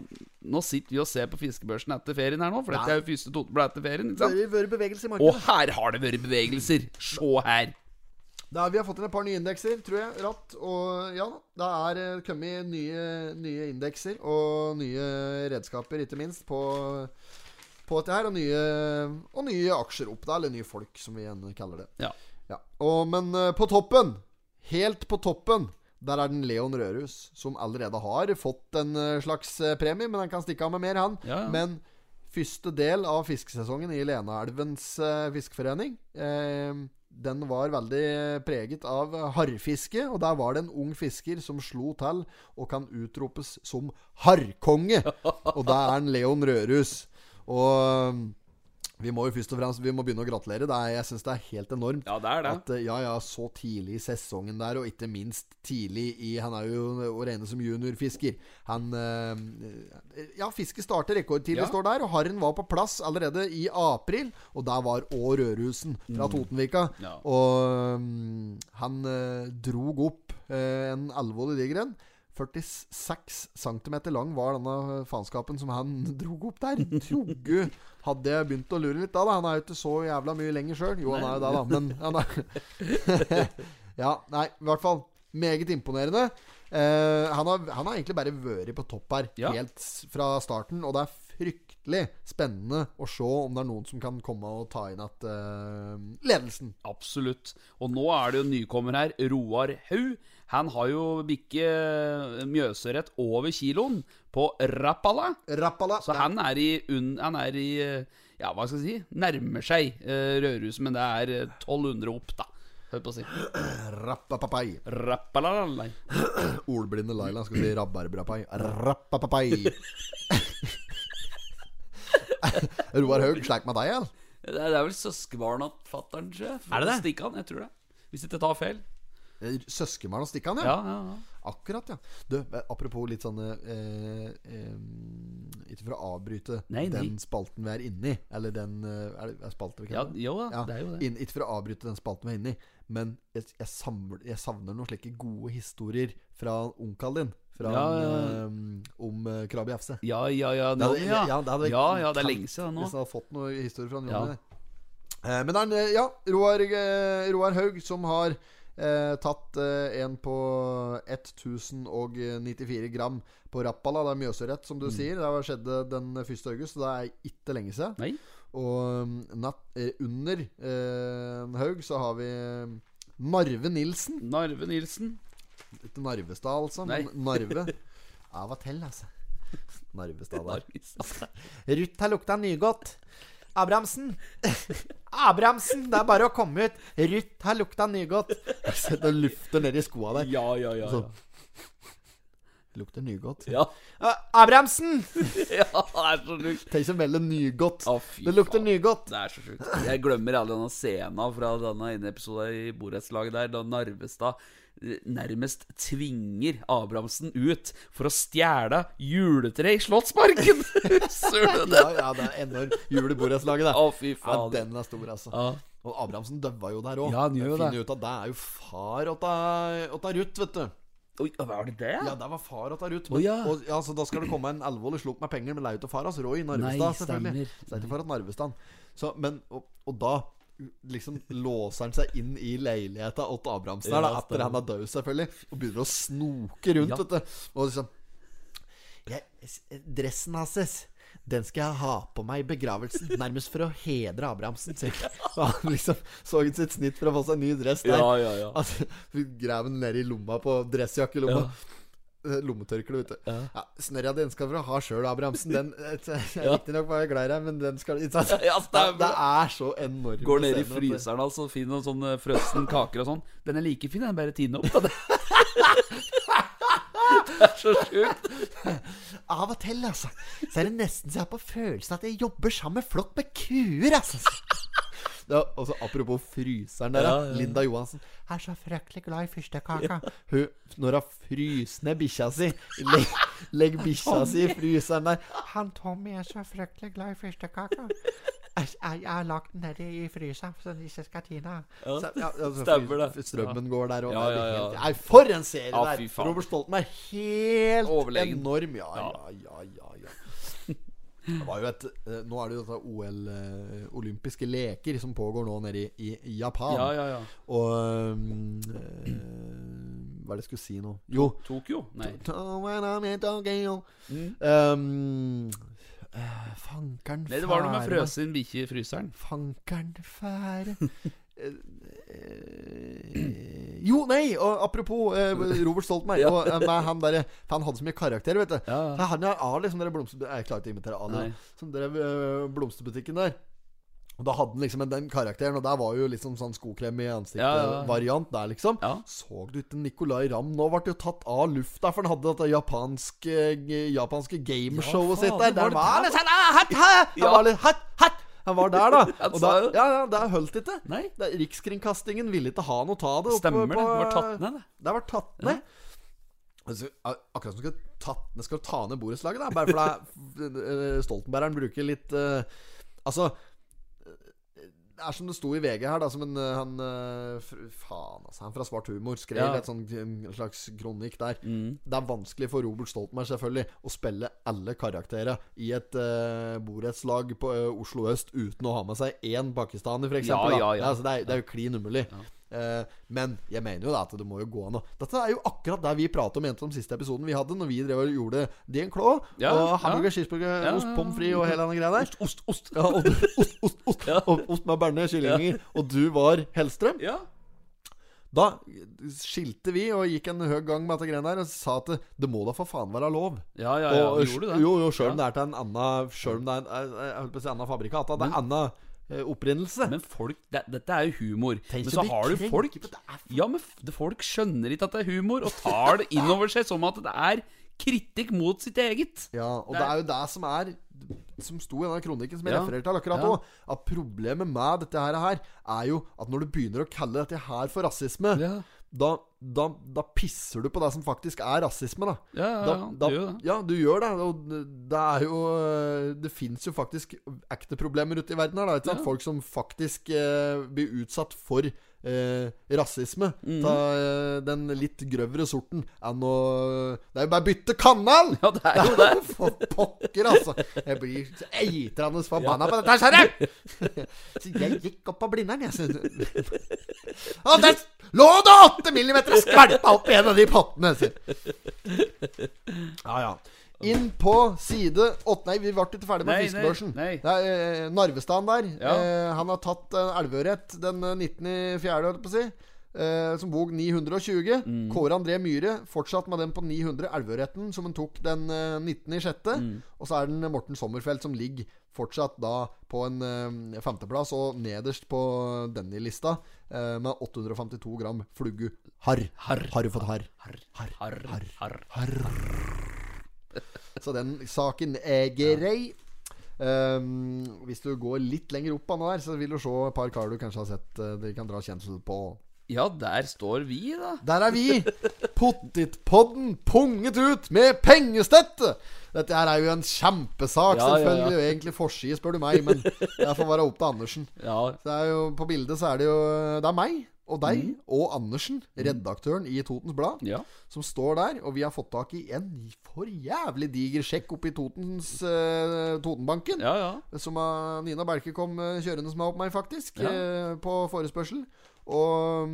Speaker 1: nå sitter vi og ser på fiskebørsen etter ferien her nå, for dette er jo første Totenblad etter ferien. ikke
Speaker 2: Det
Speaker 1: sant?
Speaker 2: har vært bevegelse i
Speaker 1: Og
Speaker 2: markedet.
Speaker 1: her har det vært bevegelser! Se her.
Speaker 2: Da, vi har fått inn et par nye indekser, tror jeg. Ratt. Og ja, det er eh, kommet nye, nye indekser og nye redskaper, ikke minst, på, på dette her. Og nye, og nye aksjer opp, da. Eller nye folk, som vi igjen kaller det.
Speaker 1: Ja.
Speaker 2: Ja, og, Men eh, på toppen, helt på toppen, der er den Leon Rørhus, som allerede har fått en eh, slags eh, premie, men han kan stikke av med mer, han.
Speaker 1: Ja, ja.
Speaker 2: Men Første del av fiskesesongen i Lenaelvens eh, fiskeforening. Eh, den var veldig preget av harrfiske, og der var det en ung fisker som slo til og kan utropes som harrkonge. Og det er en Leon Rørhus. Og eh, vi må jo først og fremst Vi må begynne å gratulere. Det er, jeg syns det er helt enormt.
Speaker 1: Ja, det er det.
Speaker 2: At, eh, ja, ja, så tidlig i sesongen der, og ikke minst tidlig i Han er jo å regne som juniorfisker. Han eh, Ja, fisket starter rekordtidlig,
Speaker 1: Ja.
Speaker 2: står der, og harren var på plass allerede i april. Og der var òg Rødrusen
Speaker 1: Mm.
Speaker 2: fra Totenvika.
Speaker 1: Ja.
Speaker 2: Og mm, han eh, drog opp eh, en alvorlig diger en. 46 cm lang var denne faenskapen som han (laughs) drog opp der. Troggu hadde jeg begynt å lure litt da. da Han er jo ikke så jævla mye lenger sjøl. Jo, han er jo det, da, men han er (laughs) Ja, nei, i hvert fall. Meget imponerende. Eh, han, har, han har egentlig bare vært på topp her
Speaker 1: Ja.
Speaker 2: helt s- fra starten, og det er fryktelig spennende å se om det er noen som kan komme og ta inn at eh, ledelsen.
Speaker 1: Absolutt. Og nå er det jo en nykommer her, Roar Haug. Han har jo bikket Mjøsørett over kiloen på Rappala.
Speaker 2: Rappala.
Speaker 1: Så han er i, unn- han er i eh, Ja, hva skal jeg si? Nærmer seg eh, Rødhus, men det er eh, 1200 opp, da. Hør på å si.
Speaker 2: Rappapapai.
Speaker 1: Rappala.
Speaker 2: Ordblinde Laila skal si rabarbrapai. Rappapapai. (laughs) Roar Haug, slik med deg, eller?
Speaker 1: Det er, det er vel søskenbarn av fatter'n, tror jeg.
Speaker 7: Er det det?
Speaker 1: Stikkan, jeg tror det. Hvis jeg ikke tar feil.
Speaker 2: Søskenbarn og Stikkan, ja.
Speaker 1: Ja, ja, ja.
Speaker 2: Akkurat, ja. Du, eh, apropos litt sånn eh, eh, Ikke for å avbryte
Speaker 1: Nei, nei.
Speaker 2: den spalten vi er inni, eller den eh, Er det er spalten vi
Speaker 1: ja
Speaker 2: kaller det?
Speaker 1: jo da, det er jo det.
Speaker 2: inn- Ikke for å avbryte den spalten vi er inni, men jeg, jeg, samler, jeg savner noen slike gode historier fra onkelen din. Fra,
Speaker 1: Ja, ja, ja.
Speaker 2: eh, om eh, Krabi FC.
Speaker 1: Ja, ja, ja. Nå,
Speaker 2: Det hadde-
Speaker 1: ja.
Speaker 2: ja, det hadde vært
Speaker 1: ja, ja, det er
Speaker 2: kaldt
Speaker 1: lenge siden nå.
Speaker 2: Hvis han hadde fått noen historier fra
Speaker 1: Ja.
Speaker 2: Johnny. Eh, Men det er en, eh, ja, Roar, eh, Roar Haug som har eh, tatt eh, en på 1094 gram på Rappala. Det er Mjøsørett,
Speaker 1: Mm.
Speaker 2: som du sier. Det var- skjedde den 1. august, så det er ikke lenge siden.
Speaker 1: Nei?
Speaker 2: Og mm, natt, eh, under eh, Haug så har vi mm, Narve Nilsen.
Speaker 1: Narve Nilsen.
Speaker 2: Ikke Narvestad, altså,
Speaker 1: Nei.
Speaker 2: men Narve.
Speaker 1: (laughs)
Speaker 2: Av og til, altså. Narvestad der.
Speaker 1: Narvesen.
Speaker 6: Ruth har lukta nygodt. Abrahamsen. Abrahamsen, det er bare å komme ut. Ruth har lukta nygodt.
Speaker 2: Jeg sitter og lufter nedi skoa der.
Speaker 1: (laughs) Ja, ja, ja. ja.
Speaker 2: Så- Lukter nygodt.
Speaker 1: Ja, (laughs)
Speaker 6: Uh, Abrahamsen!
Speaker 1: ja det er så sjukt.
Speaker 2: Tenk så veldig nygodt.
Speaker 1: Å, fy
Speaker 2: det lukter
Speaker 1: faen.
Speaker 2: nygodt.
Speaker 1: Det er så sjukt. Jeg glemmer alle denne scenen fra denne ene episoden i borettslaget der, da Narvestad eh, nærmest tvinger Abrahamsen ut for å stjele juletre i Slottsparken! (laughs) Husker du det?
Speaker 2: Ja, ja, det er enormt. Julebordrettslaget,
Speaker 1: Å,
Speaker 2: det.
Speaker 1: fy
Speaker 2: Ja,
Speaker 1: faen.
Speaker 2: den er stor, altså.
Speaker 1: Ja.
Speaker 2: Og Abrahamsen døva jo der òg.
Speaker 1: Ja, han gjør jo
Speaker 2: Finner ut at det er jo far åtta åtta Ruth, vet du.
Speaker 1: Oi, var det det?
Speaker 2: Ja, det var far åtta Ruth.
Speaker 1: Å, ja.
Speaker 2: Og, ja, så da skal det komme en alvorlig slump med penger, men det er jo til far hans, Roy Narvestad,
Speaker 1: Nei,
Speaker 2: selvfølgelig.
Speaker 1: stemmer.
Speaker 2: Så det er ikke far hans Narvestad. Så, men, og, og da liksom låser han seg inn i leiligheta åt Abrahamsen her, da,
Speaker 1: Ja,
Speaker 2: etter han er død, selvfølgelig, og begynner å snoke rundt,
Speaker 1: Ja.
Speaker 2: vet du. Og liksom jeg, Dressen hans den skal jeg ha på meg i begravelsen, nærmest for å hedre Abrahamsen. sier han. Og han liksom så ut sitt snitt for å få seg ny dress der.
Speaker 1: Ja, ja, ja.
Speaker 2: Altså, Grav den ned i lomma på dressjakkelomma. Eh, Lommetørkle, vet du. Ja. Snørra den skal du ha sjøl, Abrahamsen. Den eh,
Speaker 1: (laughs)
Speaker 2: Riktignok var jeg glad i deg, men den skal ikke sant?
Speaker 1: Ja, stemmer.
Speaker 2: Det er så enormt.
Speaker 1: Går ned i fryseren altså, finner noen sånne frøsne kaker og sånn. Den er like fin, den bare tiner opp. Da. Det (laughs) er så sjukt.
Speaker 2: Av og til, altså, så er det nesten så jeg har på følelsen at jeg jobber sammen med flokk med kuer, altså. (laughs) Ja, og så Apropos fryseren der,
Speaker 1: Ja, ja.
Speaker 2: Linda Johansen. Jeg er så fryktelig glad i fyrstekaka. Hun, når hun fryser ned bikkja si Legg, legg bikkja si i fryseren der.
Speaker 6: Han Tommy er så fryktelig glad i fyrstekaka. Jeg, jeg, jeg har lagt den nedi i frysa, så den ikke skal tine.
Speaker 2: Så- Ja, altså,
Speaker 1: Stemmer det.
Speaker 2: fy- Strømmen går der òg.
Speaker 1: Ja, ja, ja.
Speaker 2: Nei, for en serie
Speaker 1: Ja, fy
Speaker 2: der!
Speaker 1: faen.
Speaker 2: Robert Stoltenberg helt
Speaker 1: Overlegen.
Speaker 2: enorm. Ja,
Speaker 1: Ja.
Speaker 2: ja, ja, ja. ja. Det var jo et, eh, nå er det jo dette OL eh, Olympiske leker som pågår nå nede i, i Japan.
Speaker 1: Ja, ja, ja.
Speaker 2: Og um, eh, Hva er det jeg skulle si nå? Jo
Speaker 1: Tokyo? Nei. Mm.
Speaker 2: um, eh, Fankeren
Speaker 1: Nei, det var noe med
Speaker 2: fære meg.
Speaker 1: frøsen bikkje i fryseren.
Speaker 2: Fankeren fære Eh, eh, Jo, nei, og apropos eh, Robert
Speaker 1: (laughs)
Speaker 2: Stoltenberg
Speaker 1: Ja.
Speaker 2: og, eh, med han derre for Han hadde så mye karakter, vet du.
Speaker 1: Ja, ja.
Speaker 2: Så Han er av liksom dere blomster... Jeg klarer ikke å imitere Ali.
Speaker 1: Nei.
Speaker 2: Som drev eh, blomsterbutikken der. Og Da hadde han liksom en- den karakteren, og der var jo liksom sånn skokrem i
Speaker 1: Ja, ja.
Speaker 2: ansiktet-variant der, liksom.
Speaker 1: Ja.
Speaker 2: Så du ikke Nicolay Ramm? Nå ble jo tatt av lufta, for han hadde dette japanske, japanske
Speaker 1: Ja,
Speaker 2: gameshowet sitt
Speaker 1: fader,
Speaker 2: der.
Speaker 1: var det
Speaker 2: Der var
Speaker 1: der?
Speaker 2: litt sånn, ah, hatt, hæ?
Speaker 1: Ja.
Speaker 2: Han var litt hatt, hatt. Han var der,
Speaker 1: (laughs)
Speaker 2: da.
Speaker 1: Han
Speaker 2: Og da
Speaker 1: sa det.
Speaker 2: ja, ja, der holdt det ikke.
Speaker 1: Nei.
Speaker 2: Det- Rikskringkastingen ville ikke ha noe av det. oppe
Speaker 1: Stemmer det.
Speaker 2: på-
Speaker 1: Det var tatt ned, det.
Speaker 2: Det var tatt ned. Altså, a- akkurat som skal tatt ned Skal ta ned borettslaget, da. Bare fordi (laughs) eh, Stoltenbergeren bruker litt eh, Altså eh, det er som det sto i VG her, da, som en eh, han eh, fr- Faen, altså. Han fra Svart humor skrev
Speaker 1: Ja. Mm.
Speaker 2: et sånn en slags kronikk der. Det er vanskelig for Robert Stoltenberg selvfølgelig å spille alle karakterer i et eh, borettslag på eh, Oslo øst uten å ha med seg én pakistaner, f.eks.
Speaker 1: Ja, ja, ja.
Speaker 2: altså, det, er- det er jo klin umulig. Eh, men jeg mener jo da at det må jo gå an å Dette er jo akkurat det vi pratet om i en av de siste episoden vi hadde, når vi drev og gjorde det i en klå.
Speaker 1: Ja,
Speaker 2: og
Speaker 1: ja.
Speaker 2: hamburger, cheeseburger,
Speaker 1: Ja,
Speaker 2: ost,
Speaker 1: ja,
Speaker 2: pommes frites
Speaker 1: ja.
Speaker 2: og hele den greia
Speaker 1: (laughs)
Speaker 2: der.
Speaker 1: Ost, ost, ost.
Speaker 2: Ja, og du, ost, ost, ost,
Speaker 1: Ja.
Speaker 2: og, ost med berne, kyllinger. Og du var Hellstrøm.
Speaker 1: Ja.
Speaker 2: Da skilte vi og gikk en høy gang med dette greiene der og sa at det må da for faen være lov.
Speaker 1: Ja, ja, ja, vi
Speaker 2: og,
Speaker 1: gjorde det.
Speaker 2: Jo, jo, sjøl om det er til en annen Sjøl om det er en- jeg holdt på å si annen fabrikat. At det er annen eh, opprinnelse.
Speaker 1: Mm. Men folk, det, dette er jo humor.
Speaker 2: Tenk
Speaker 1: Men
Speaker 2: å
Speaker 1: så
Speaker 2: bli
Speaker 1: har du
Speaker 2: krenket,
Speaker 1: folk
Speaker 2: det er for-
Speaker 1: Ja, men f- det- folk skjønner ikke at det er humor, og tar det innover seg som at det er kritikk mot sitt eget.
Speaker 2: Ja, og det er jo det som er Som sto i den kronikken som jeg
Speaker 1: Ja.
Speaker 2: refererte til akkurat
Speaker 1: Ja.
Speaker 2: nå. At problemet med dette her, her er jo at når du begynner å kalle dette her for rasisme,
Speaker 1: Ja.
Speaker 2: da, da, da pisser du på det som faktisk er rasisme, da.
Speaker 1: Ja, ja,
Speaker 2: da,
Speaker 1: ja,
Speaker 2: da,
Speaker 1: du gjør det.
Speaker 2: ja, du gjør det. Og det er jo eh, Det fins jo faktisk ekte problemer ute i verden her. Da, ikke sant? Folk som faktisk eh, blir utsatt for eh, rasisme
Speaker 1: Mhm.
Speaker 2: av eh, den litt grøvere sorten enn å Det er jo bare å bytte kanal!
Speaker 1: Ja, det er jo det.
Speaker 2: (laughs) For pokker, altså. Jeg blir så eitrende forbanna på dette, skjønner du!
Speaker 1: (laughs)
Speaker 2: Så jeg gikk opp på Blindern, jeg. Så. (laughs) Og der lå det åtte millimeter og skvalpa opp i en av de pottene! Så. Ja, ja. Inn på side åtte Nei, vi ble ikke ferdig med
Speaker 1: Nei, nei,
Speaker 2: fiskebørsen.
Speaker 1: nei.
Speaker 2: Det er eh, Narvestaden der.
Speaker 1: Ja.
Speaker 2: Eh, han har tatt eh, elveørret den eh, 19.4., holdt jeg på å si. Eh, som bog 920. Kåre André Myhre fortsatt med den på 900. Elveørreten som han tok den eh, 19.6. Og så er den eh, Morten Sommerfelt som ligger fortsatt da på en eh, femteplass, og nederst på denne lista eh, med 852 gram fluggu. Harr.
Speaker 1: Harr.
Speaker 2: Har du fått harr?
Speaker 1: Harr, harr, harr.
Speaker 2: Så den saken er grei. Ehm, hvis du går litt lenger opp av nå her, så vil du se et par karer du kanskje har sett eh, dere kan dra kjensel på.
Speaker 1: Ja, der står vi, da.
Speaker 2: Der er vi! Pottitpodden punget ut med pengestøtte! Dette her er jo en kjempesak,
Speaker 1: Ja, ja, ja.
Speaker 2: selvfølgelig. Og egentlig forside, spør du meg, men jeg får være opp til Andersen.
Speaker 1: Ja,
Speaker 2: Så det er jo, på bildet så er det jo eh, Det er meg og deg og Andersen, redaktøren i Totens Blad,
Speaker 1: Mm. Ja.
Speaker 2: som står der. Og vi har fått tak i en for jævlig diger sjekk oppe i Totens, eh, Totenbanken.
Speaker 1: ja. ja.
Speaker 2: Som eh, Nina Berke kom eh, kjørende som meg opp meg, faktisk,
Speaker 1: Ja.
Speaker 2: eh, på forespørsel. Og mm,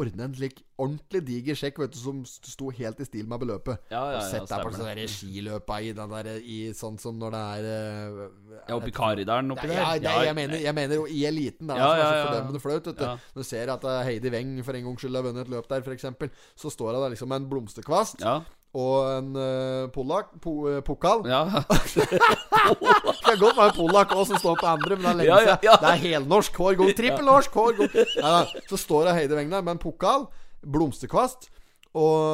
Speaker 2: ordne en slik ordentlig diger sjekk vet du, som st- sto helt i stil med beløpet.
Speaker 1: Ja, ja, ja,
Speaker 2: og sett deg på
Speaker 1: stemmer
Speaker 2: sånne der skiløpa i, den der, i sånn som når det er eh,
Speaker 1: Ja, oppi Karidalen oppi
Speaker 2: Nei,
Speaker 1: der.
Speaker 2: ja, det, jeg, mener, jeg mener jo i eliten. Det er
Speaker 1: Ja,
Speaker 2: det som er
Speaker 1: ja,
Speaker 2: så
Speaker 1: ja.
Speaker 2: fordømmende flaut. vet du.
Speaker 1: Ja.
Speaker 2: Når du ser at eh, Heidi Weng for en gangs skyld har vunnet et løp der, f.eks., så står hun der liksom med en blomsterkvast
Speaker 1: Ja.
Speaker 2: og en eh, polak, po, eh, pokal.
Speaker 1: ja.
Speaker 2: Det kan godt være polakk òg som står på andre, men det er lenge
Speaker 1: Ja, ja, ja.
Speaker 2: siden. Det er helnorsk hver gang. Trippelnorsk hver gang. Ja, da. så står det Heidi Weng der med en pokal, blomsterkvast og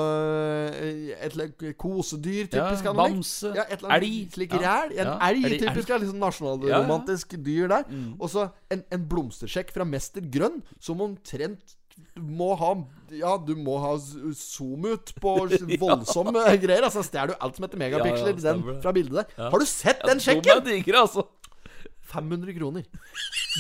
Speaker 2: eh, et eller annet kosedyr, typisk.
Speaker 1: Ja,
Speaker 2: han lik.
Speaker 1: bamse,
Speaker 2: Ja, et eller annet
Speaker 1: elg.
Speaker 2: Slik
Speaker 1: Ja,
Speaker 2: ræl. En
Speaker 1: ja,
Speaker 2: elg,
Speaker 1: elg, Mm.
Speaker 2: typisk. er Litt sånn nasjonalromantisk dyr der. Og så en, en blomstersjekk fra Mester Grønn, som omtrent du må ha Ja, du må ha z- zoom ut på
Speaker 1: (laughs)
Speaker 2: voldsomme greier. Altså, Stjeler du alt som heter megapiksler
Speaker 1: Ja, ja, stemmer
Speaker 2: den,
Speaker 1: det.
Speaker 2: fra bildet der. Har du sett (laughs) den
Speaker 1: De
Speaker 2: sjekken?
Speaker 1: er digre, altså.
Speaker 2: 500 kroner.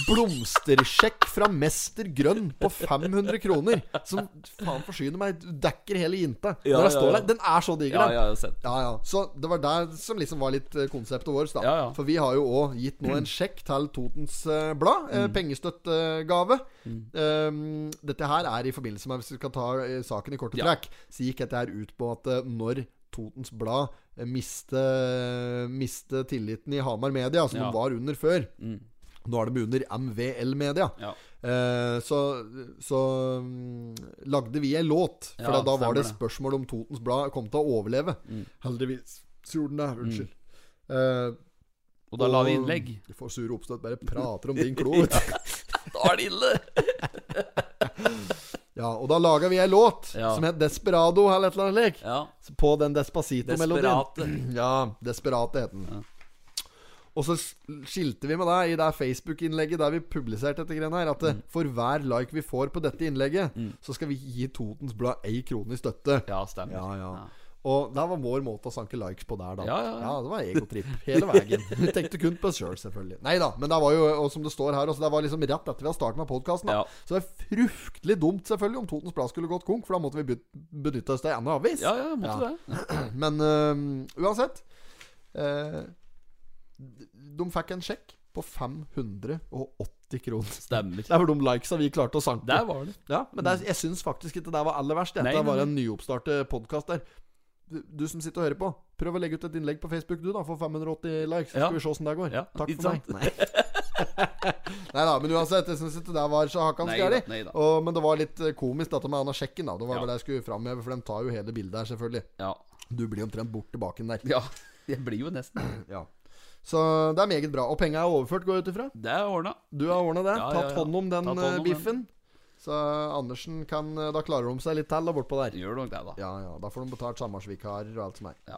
Speaker 2: Blomstersjekk fra Mester Grønn på 500 kroner. Som faen forsyner meg. Du dekker hele jinta.
Speaker 1: Ja,
Speaker 2: Når jeg
Speaker 1: ja,
Speaker 2: står
Speaker 1: ja.
Speaker 2: der. Den er så diger,
Speaker 1: Ja,
Speaker 2: den.
Speaker 1: ja, jeg har sett.
Speaker 2: Ja, ja. Så det var der som liksom var litt eh, konseptet vårt, da.
Speaker 1: Ja, ja.
Speaker 2: For vi har jo òg gitt nå en sjekk til Totens eh, Blad. eh,
Speaker 1: Mm.
Speaker 2: Pengestøttegave. Um, dette her er i forbindelse med Hvis vi skal ta eh, saken i korte
Speaker 1: Ja.
Speaker 2: trekk, så gikk dette her ut på at eh, når Totens Blad eh, miste, miste tilliten i Hamar Media, som
Speaker 1: Ja. Mm.
Speaker 2: de var under før Nå er de under MVL Media.
Speaker 1: Ja.
Speaker 2: Eh, så, så mm, lagde vi ei låt, for
Speaker 1: Ja,
Speaker 2: da
Speaker 1: stemmer
Speaker 2: var det
Speaker 1: det. Mm.
Speaker 2: spørsmål om Totens Blad kom til å overleve. Heldigvis så gjorde den det. Unnskyld. Eh,
Speaker 1: Og da la vi innlegg.
Speaker 2: Du får sure oppstøt. Bare prater
Speaker 1: (laughs)
Speaker 2: om din klo. vet du.
Speaker 1: Da er det ille!
Speaker 2: ja, og da laga vi ei låt
Speaker 1: Ja.
Speaker 2: som het Desperado, eller et eller annet slik.
Speaker 1: Ja.
Speaker 2: På den Despacito-melodien.
Speaker 1: Desperate.
Speaker 2: (clears throat) Ja, Desperate het den. Og så s- skilte vi med deg i det Facebook-innlegget der vi publiserte dette greiene her, at
Speaker 1: Mm.
Speaker 2: eh, for hver like vi får på dette innlegget, så skal vi gi Totens Blad ei krone i støtte.
Speaker 1: Ja, stemmer.
Speaker 2: Ja, ja. Og det var vår måte å sanke likes på der, da.
Speaker 1: Ja, ja, ja.
Speaker 2: det var egotripp hele
Speaker 1: (laughs)
Speaker 2: veien. Vi tenkte kun på oss sjøl, selvfølgelig. Nei da, men det var jo, og som det står her, også, det var liksom rett etter vi hadde startet med podkasten.
Speaker 1: Ja.
Speaker 2: Så det var fruktelig dumt, selvfølgelig, om Totens Blad skulle gått konk, for da måtte vi byt- benytte oss av en annen avis.
Speaker 1: Ja, ja, måtte
Speaker 2: Ja.
Speaker 1: det.
Speaker 2: Men øhm, uansett eh, d- De fikk en sjekk på 580 kroner. (laughs)
Speaker 1: Stemmer.
Speaker 2: Det er for de likesa vi klarte å sanke.
Speaker 1: Der var det.
Speaker 2: Ja, men det er, jeg syns faktisk ikke det var aller verst. Dette
Speaker 1: Nei, nei, nei.
Speaker 2: var en nyoppstartet podkast der. Du, du som sitter og hører på, prøv å legge ut et innlegg på Facebook du da for 580 likes. Så
Speaker 1: Ja.
Speaker 2: skal vi se åssen det går.
Speaker 1: Ja,
Speaker 2: Takk
Speaker 1: ikke
Speaker 2: for meg. Nei. Nei da, men uansett, jeg syns ikke det var så hakkans
Speaker 1: Nei da,
Speaker 2: gærent.
Speaker 1: nei da.
Speaker 2: Men det var litt eh, komisk dette med Anna Sjekken, da. Det var
Speaker 1: Ja.
Speaker 2: vel det jeg skulle framheve, for de tar jo hele bildet her, selvfølgelig.
Speaker 1: Ja.
Speaker 2: Du blir omtrent bort til baken der.
Speaker 1: ja. Jeg blir jo nesten
Speaker 2: Ja. Så det er meget bra. Og penga er overført, går jeg ut ifra.
Speaker 1: Det er ordna.
Speaker 2: Du har ordna det.
Speaker 1: Ja, ja,
Speaker 2: Tatt
Speaker 1: ja.
Speaker 2: hånd om den
Speaker 1: Tatt hånd om
Speaker 2: eh, biffen. Så Andersen kan eh, Da klarer de seg litt til og bortpå der.
Speaker 1: Gjør nok det, da.
Speaker 2: Ja, ja. Da får de betalt samarbeidsvikarer og alt som er.
Speaker 1: Ja.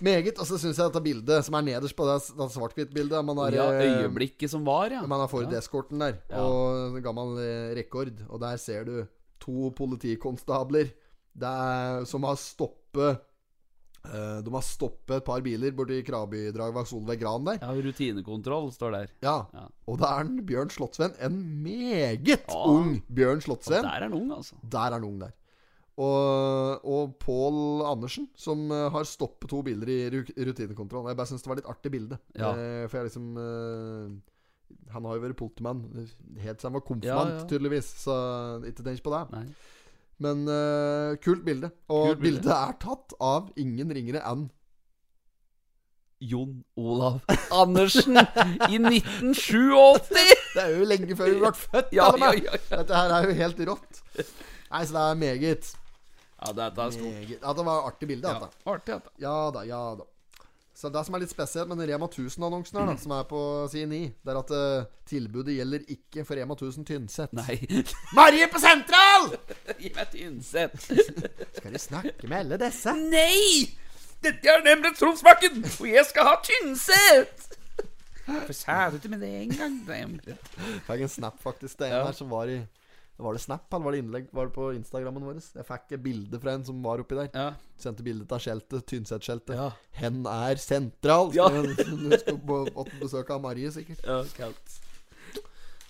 Speaker 2: Meget. Og så syns jeg dette bildet, som er nederst på det, det svart-hvitt-bildet Man har
Speaker 1: Ja,
Speaker 2: eh,
Speaker 1: øyeblikket som var, ja.
Speaker 2: Man har Ford Escorten der,
Speaker 1: Ja.
Speaker 2: og en gammel eh, rekord. Og der ser du to politikonstabler det er, som har stoppet eh, De har stoppet et par biler borti Krabydraget ved Solveig Gran der.
Speaker 1: Ja, rutinekontroll står der.
Speaker 2: Ja.
Speaker 1: Ja.
Speaker 2: Og det er en Bjørn Slottsvenn. En meget
Speaker 1: Ja.
Speaker 2: ung Bjørn
Speaker 1: Og
Speaker 2: Slottsvenn.
Speaker 1: der er den ung, altså.
Speaker 2: Der er han ung der. Og, og Pål Andersen, som eh, har stoppet to biler i ru- rutinekontrollen. Jeg bare syns det var litt artig bilde.
Speaker 1: Ja.
Speaker 2: Eh, for jeg liksom eh, Han har jo vært politimann helt siden han var konfirmant,
Speaker 1: Ja, ja.
Speaker 2: tydeligvis. Så eh, ikke tenk på det.
Speaker 1: Nei.
Speaker 2: Men eh, kult bilde. Og
Speaker 1: Kult bilde.
Speaker 2: bildet er tatt av ingen ringere enn
Speaker 1: Jon Olav (laughs) Andersen (laughs) i 1987!
Speaker 2: Det er jo lenge før vi ble født!
Speaker 1: Ja,
Speaker 2: alle
Speaker 1: ja,
Speaker 2: mann.
Speaker 1: ja.
Speaker 2: Dette her er jo helt rått.
Speaker 1: (laughs)
Speaker 2: Nei, så det er meget.
Speaker 1: ja dette er stort.
Speaker 2: meget. Ja, det var et artig bilde.
Speaker 1: Ja,
Speaker 2: dette.
Speaker 1: artig, dette.
Speaker 2: Ja da, ja da. Så Det som er litt spesielt med den Rema 1000-annonsen her, da, som er på side 9, det er at eh, tilbudet gjelder ikke for Rema 1000 Tynset.
Speaker 1: Nei, (laughs)
Speaker 6: Marie på sentral!
Speaker 1: gi meg et innsett.
Speaker 2: Skal de snakke?
Speaker 6: Ikke med alle disse.
Speaker 1: (laughs) Nei! Dette er nemlig Tromsbakken, og jeg skal ha Tynset! Hvorfor sa du ikke med det en gang? Dem?
Speaker 2: Jeg fikk en snap, faktisk. Det er en
Speaker 1: Ja.
Speaker 2: her som var i Var det snap, eller var det innlegg Var det på Instagrammen vår? Jeg fikk et bilde fra en som var oppi der.
Speaker 1: Ja.
Speaker 2: Sendte bilde av skjeltet, Tynset-skjeltet.
Speaker 1: Ja.
Speaker 2: Hen er sentral!
Speaker 1: Ja.
Speaker 2: Hun (laughs) hun skulle på på besøk av Marie, sikkert.
Speaker 1: ja, kaldt.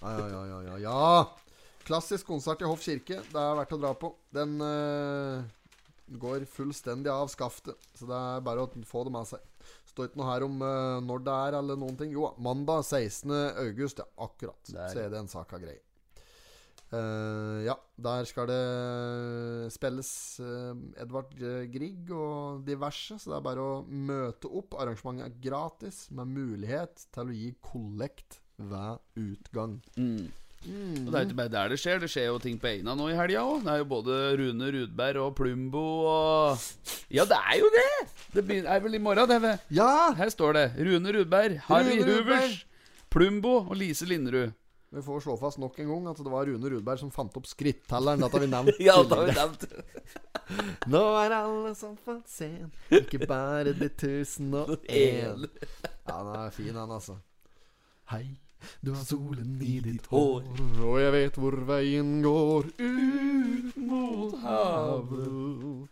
Speaker 2: Ja, ja, ja, ja, ja, ja. Klassisk konsert i Hoff kirke. Det er verdt å dra på. Den eh, går fullstendig av skaftet, så det er bare å få det med seg. Står ikke noe her om eh, når det er, eller noen ting. Jo, mandag 16. august. Ja, akkurat.
Speaker 1: Der.
Speaker 2: Så er det en sak av grei. Eh, ja, der skal det spilles eh, Edvard eh, Grieg og diverse, så det er bare å møte opp. Arrangementet er gratis, med mulighet til å gi kollekt ved utgang. Mm.
Speaker 1: Og det er ikke bare der det skjer, det skjer jo ting på Eina nå i helga òg. Det er jo både Rune Rudberg og Plumbo og Ja, det er jo det! Det begynner, er vel i morgen, det. vel?
Speaker 2: Ja!
Speaker 1: Her står det Rune Rudberg, Harry
Speaker 2: Rune Rudberg.
Speaker 1: Huvers, Plumbo og Lise Linderud.
Speaker 2: Vi får slå fast nok en gang at det var Rune Rudberg som fant opp skrittelleren. Dette har vi (laughs) nevnt tidligere. Nå er alle som fant sen, ikke bare de tusen (laughs) og en. Ja, han er fin, han, altså. Hei, du har solen i ditt hår, og jeg vet hvor veien går ut mot havet.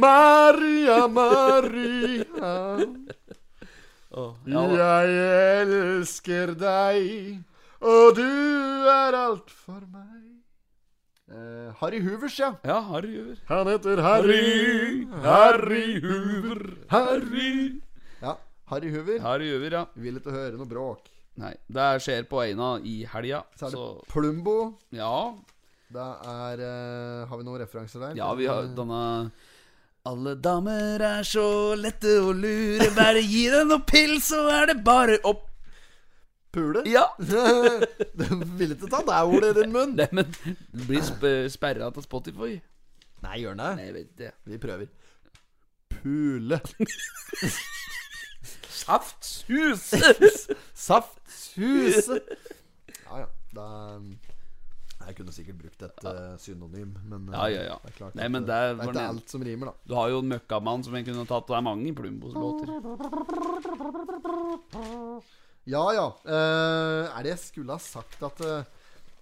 Speaker 2: Maria, Maria, jeg elsker deg, og du er alt for meg. Eh, Harry Hoovers, ja.
Speaker 1: Ja, Harry Hoover.
Speaker 2: Han heter
Speaker 1: Harry Hoover, Harry
Speaker 2: Ja, Harry Hoover.
Speaker 1: Harry Hoover, ja.
Speaker 2: Vi vil ikke høre noe bråk.
Speaker 1: Nei, det skjer på Eina i helga,
Speaker 2: Så er det
Speaker 1: så
Speaker 2: Plumbo.
Speaker 1: Ja,
Speaker 2: Det er eh, Har vi noen referanser der? Eh,
Speaker 1: Ja, vi har denne Alle damer er så lette å lure Bare gi deg noe pils, så er det bare opp
Speaker 6: Pule?
Speaker 2: (laughs)
Speaker 1: Ja!
Speaker 6: du ville ikke ta det ordet i din munn?
Speaker 1: (laughs) Nei, men det blir sp sperra av Spotify.
Speaker 6: Nei, gjør den det?
Speaker 1: Nei, jeg vet ikke.
Speaker 6: Vi prøver. Pule.
Speaker 1: Saftsus! (laughs)
Speaker 2: (laughs)
Speaker 6: Saftsuse. Ja, ja. Da
Speaker 2: um,
Speaker 6: Jeg kunne sikkert brukt et eh, synonym, men eh,
Speaker 1: Ja, ja, ja.
Speaker 6: det er klart
Speaker 1: Nei,
Speaker 6: at
Speaker 2: eh,
Speaker 1: men
Speaker 6: det,
Speaker 1: det
Speaker 6: det er
Speaker 1: var den-
Speaker 6: ikke alt som rimer, da.
Speaker 1: Du har jo en møkkamann som en kunne tatt. Det er mange i Plumbos låter.
Speaker 6: Ja,
Speaker 2: Ja, ja. Eh, er det jeg skulle ha sagt at eh,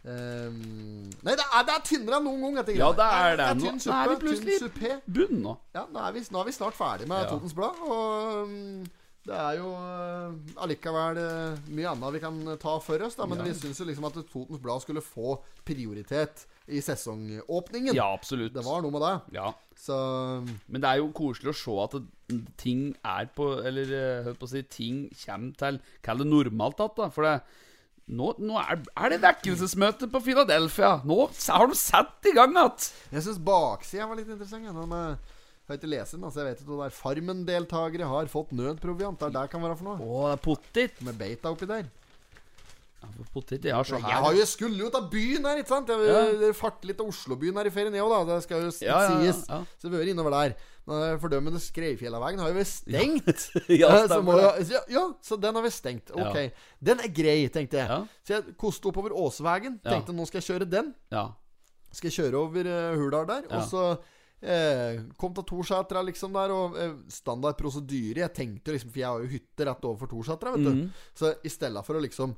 Speaker 2: eh, Nei, det er, det er tynnere enn noen gang. dette
Speaker 1: Ja,
Speaker 2: greiet.
Speaker 1: det er det.
Speaker 2: Det
Speaker 1: Nå,
Speaker 2: er tynn
Speaker 1: nå er vi
Speaker 2: suppe,
Speaker 1: plutselig
Speaker 2: tynn suppé.
Speaker 1: bunn nå.
Speaker 2: Ja, nå er vi, nå er vi snart ferdig med
Speaker 1: Ja.
Speaker 2: Totens Blad. Og mm, det er jo eh, allikevel eh, mye annet vi kan ta for oss, da. Men vi syns jo liksom at Totens Blad skulle få prioritet i sesongåpningen.
Speaker 1: Ja, absolutt.
Speaker 2: Det var noe med det.
Speaker 1: Ja.
Speaker 2: Så um,
Speaker 1: Men det er jo koselig å se at det- ting er på Eller eh, hør på å si ting kommer til Kall det normalt igjen, da. For det nå, nå er, er det vekkelsesmøte på Philadelphia. Nå s- har de satt i gang igjen!
Speaker 2: jeg syns baksida var litt interessant. Jeg, med, jeg har ikke lest den, altså jeg vet ikke hva det er. Farmen-deltakere har fått nødproviant. Det er det det kan være for noe.
Speaker 1: Å, det er potet.
Speaker 2: Med beita oppi der.
Speaker 1: Ja, for potet ja, så
Speaker 2: Jeg
Speaker 1: her. (laughs)
Speaker 2: har jo, (laughs) skulle jo ta byen her, ikke sant? Jeg vil
Speaker 1: Ja.
Speaker 2: ja. farte litt av Oslobyen her i ferien, jeg òg, da. Det skal jo s-
Speaker 1: Ja, ja, ja,
Speaker 2: sies.
Speaker 1: ja.
Speaker 2: Så vi har vært innover der. Den Fordømmende Skreifjellavegen har jo vært stengt.
Speaker 1: (laughs)
Speaker 2: Eh,
Speaker 1: Ja,
Speaker 2: så
Speaker 1: stemmer
Speaker 2: må
Speaker 1: det.
Speaker 2: jo- ja, ja, så den har vi stengt. Ok.
Speaker 1: Ja.
Speaker 2: Den er grei, tenkte jeg.
Speaker 1: Ja.
Speaker 2: Så jeg koste oppover Åsvegen.
Speaker 1: Ja.
Speaker 2: Tenkte nå skal jeg kjøre den.
Speaker 1: Ja.
Speaker 2: Skal jeg kjøre over uh, Hurdal der.
Speaker 1: Ja.
Speaker 2: Og så eh, kom til Torsetra, liksom, der. Og eh, standard prosedyre. Jeg tenkte jo liksom For jeg har jo hytte rett overfor Torsetra, vet
Speaker 1: Mm. Mhm.
Speaker 2: du. Så i stedet for å liksom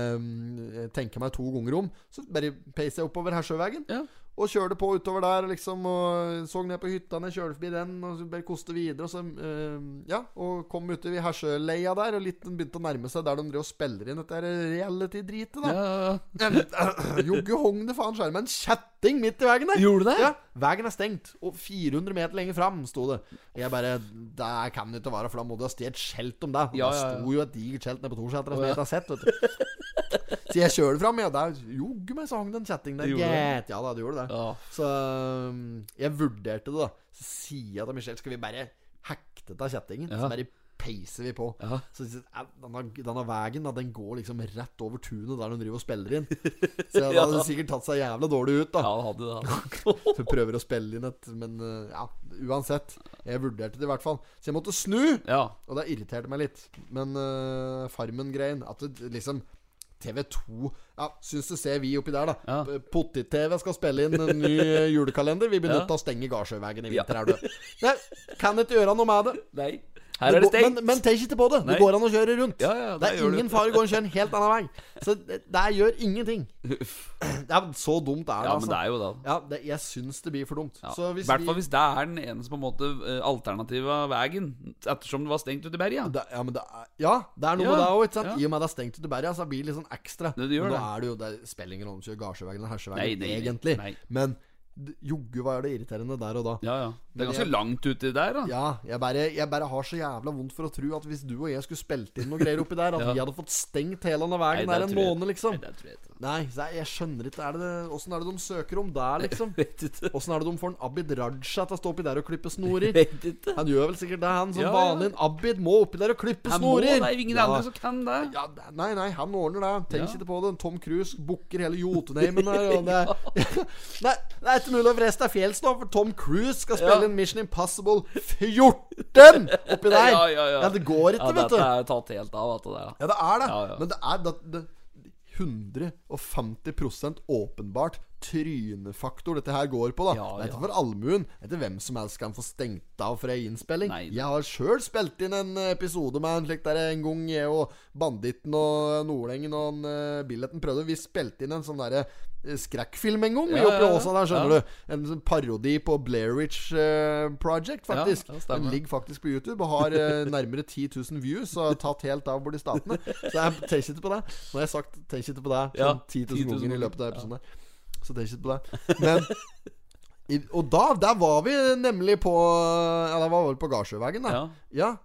Speaker 2: eh, tenke meg to ganger om, så bare peiser jeg oppover Hersjøvegen.
Speaker 1: Ja.
Speaker 2: Og kjørte på utover der, liksom, og så ned på hyttene, kjørte forbi den, og så bare koste videre, og så eh, Ja, og kom ute ved Hersjøleia der, og litt den begynte å nærme seg der de drev og spiller inn dette her reality-dritet, da.
Speaker 1: Ja,
Speaker 2: Jogge hogn det faen skjermen en kjetting midt i veien der.
Speaker 1: Gjorde det?
Speaker 2: Ja, Veien er stengt, og 400 meter lenger fram sto det. Og jeg bare Det kan det ikke være, for da må du ha stjålet skjelt om det. Og
Speaker 1: Ja,
Speaker 2: det
Speaker 1: ja, ja.
Speaker 2: sto jo et digert skjelt nede på Torsetra
Speaker 1: Å,
Speaker 2: som
Speaker 1: ja.
Speaker 2: jeg ikke har sett, vet du. Så jeg kjører fram, ja. Der joggu meg så hang det en kjetting der.
Speaker 1: Gjorde det?
Speaker 2: Gæt, ja da, du gjorde det.
Speaker 1: Ja.
Speaker 2: Så um, jeg vurderte det, da. Så sier jeg til Michelle Skal vi bare hekte av kjettingen?
Speaker 1: Ja.
Speaker 2: Så bare peiser vi på.
Speaker 1: Ja.
Speaker 2: Så sier jeg, «Au, denne, denne veien da, den går liksom rett over tunet der de driver og spiller inn.
Speaker 1: (laughs)
Speaker 2: Så det hadde sikkert tatt seg jævla dårlig ut, da.
Speaker 1: ja, det hadde det.
Speaker 2: Så prøver å spille inn et Men uh, ja, uansett. Jeg vurderte det i hvert fall. Så jeg måtte snu,
Speaker 1: Ja.
Speaker 2: og det irriterte meg litt. Men uh, Farmen-greien At det liksom TV2 Ja, syns du ser vi oppi der, da.
Speaker 1: Ja.
Speaker 2: P- Potet-TV skal spille inn en ny uh, julekalender. Vi blir nødt til å stenge Gardsjøvegen i vinter, er du. Nei, kan ikke gjøre noe med det.
Speaker 1: Nei. Her er det
Speaker 2: går-
Speaker 1: stengt.
Speaker 2: Men, men tenk ikke på det.
Speaker 1: Nei.
Speaker 2: Det går an å kjøre rundt.
Speaker 1: Ja, ja,
Speaker 2: det
Speaker 1: det
Speaker 2: er
Speaker 1: gjør det.
Speaker 2: ingen fare å gå og kjøre en helt annen vei. Så det, det her gjør ingenting. (clears throat) Det er, så dumt er det,
Speaker 1: ja,
Speaker 2: altså.
Speaker 1: men det er jo det.
Speaker 2: Ja, det, jeg syns det blir for dumt.
Speaker 1: Ja.
Speaker 2: Så
Speaker 1: I
Speaker 2: hvis
Speaker 1: hvert fall
Speaker 2: vi-
Speaker 1: hvis det er den eneste på en måte eh, alternative veien, ettersom det var stengt ute i berget.
Speaker 2: det, ja, men det er, ja, det er noe
Speaker 1: Ja,
Speaker 2: med det òg, ikke sant?
Speaker 1: ja.
Speaker 2: I og med at det er stengt ute i berget, så blir det litt sånn ekstra.
Speaker 1: Det- det gjør
Speaker 2: men
Speaker 1: det.
Speaker 2: nå er det jo Det spiller ingen rolle om du kjører Gardsjøvegen eller
Speaker 1: Nei,
Speaker 2: Hersjøvegen,
Speaker 1: nei, nei,
Speaker 2: egentlig.
Speaker 1: nei.
Speaker 2: Men d- joggu var det irriterende der og da.
Speaker 1: Ja, ja. Det
Speaker 2: Men
Speaker 1: er ganske
Speaker 2: jeg-
Speaker 1: langt uti der, da.
Speaker 2: Ja, jeg bare, jeg bare har så jævla vondt for å tro at hvis du og jeg skulle spilt inn noe greier oppi der, at
Speaker 1: (laughs) Ja.
Speaker 2: vi hadde fått stengt hele denne veien
Speaker 1: Nei,
Speaker 2: der
Speaker 1: det
Speaker 2: en
Speaker 1: tror jeg-
Speaker 2: måned, liksom.
Speaker 1: Nei, det tror jeg
Speaker 2: (laughs)
Speaker 1: ikke.
Speaker 2: Nei, så jeg, jeg skjønner ikke er det, Hvordan er det de søker om der, liksom?
Speaker 1: (laughs) Vet ikke.
Speaker 2: Åssen er det de får en Abid Raja til å stå oppi der og klippe snorer?
Speaker 1: Vet ikke.
Speaker 2: Han gjør vel sikkert det, han som
Speaker 1: Ja, ja.
Speaker 2: vanlig. En Abid må oppi der og klippe
Speaker 1: Her må det er
Speaker 2: snorer!
Speaker 1: jo ingen
Speaker 2: ja.
Speaker 1: andre som kan det.
Speaker 2: ja, det- Nei, nei, han ordner det. Tenk
Speaker 1: Ja.
Speaker 2: ikke på det. Tom Cruise booker hele Jotunheimen her. Og det,
Speaker 1: (laughs)
Speaker 2: nei, det er ikke mulig å vreste av fjells nå, for Tom Cruise skal spille
Speaker 1: Ja.
Speaker 2: inn Mission Impossible 14 oppi der!
Speaker 1: (laughs) Ja, ja, ja.
Speaker 2: det går ikke,
Speaker 1: Ja,
Speaker 2: vet du.
Speaker 1: dette er tatt helt av, at det der.
Speaker 2: Ja, det er det.
Speaker 1: Ja, ja.
Speaker 2: Men det er det, det 150 åpenbart trynefaktor dette her går på, da.
Speaker 1: Ja,
Speaker 2: det er ikke
Speaker 1: ja.
Speaker 2: for allmuen. Det er ikke hvem som helst kan få stengt av fra ei innspilling.
Speaker 1: Nei, nei.
Speaker 2: Jeg har sjøl spilt inn en episode med en slik der en gang jeg og Banditten og Nordengen og en, eh, Billetten prøvde. Vi spilte inn en sånn derre eh, skrekkfilm en gang, vi
Speaker 1: Ja,
Speaker 2: oppe i
Speaker 1: ja, ja.
Speaker 2: Åsa der, skjønner
Speaker 1: Ja.
Speaker 2: du. En sånn parodi på Blairwich uh, Project,
Speaker 1: Ja,
Speaker 2: faktisk.
Speaker 1: ja, stemmer.
Speaker 2: Den ligger faktisk på YouTube og har eh, nærmere 10 000 views og har tatt helt av borti statene. Så jeg tenker ikke på det. Nå har jeg sagt 'tenk ikke på det'
Speaker 1: Ja,
Speaker 2: sånn 10 000 ganger i løpet av
Speaker 1: ja.
Speaker 2: episoden. her. Så tenk ikke på det. Men i, Og da, der var vi nemlig på Ja, da var vi på Gardsjøvegen, da.
Speaker 1: Ja.
Speaker 2: Ja,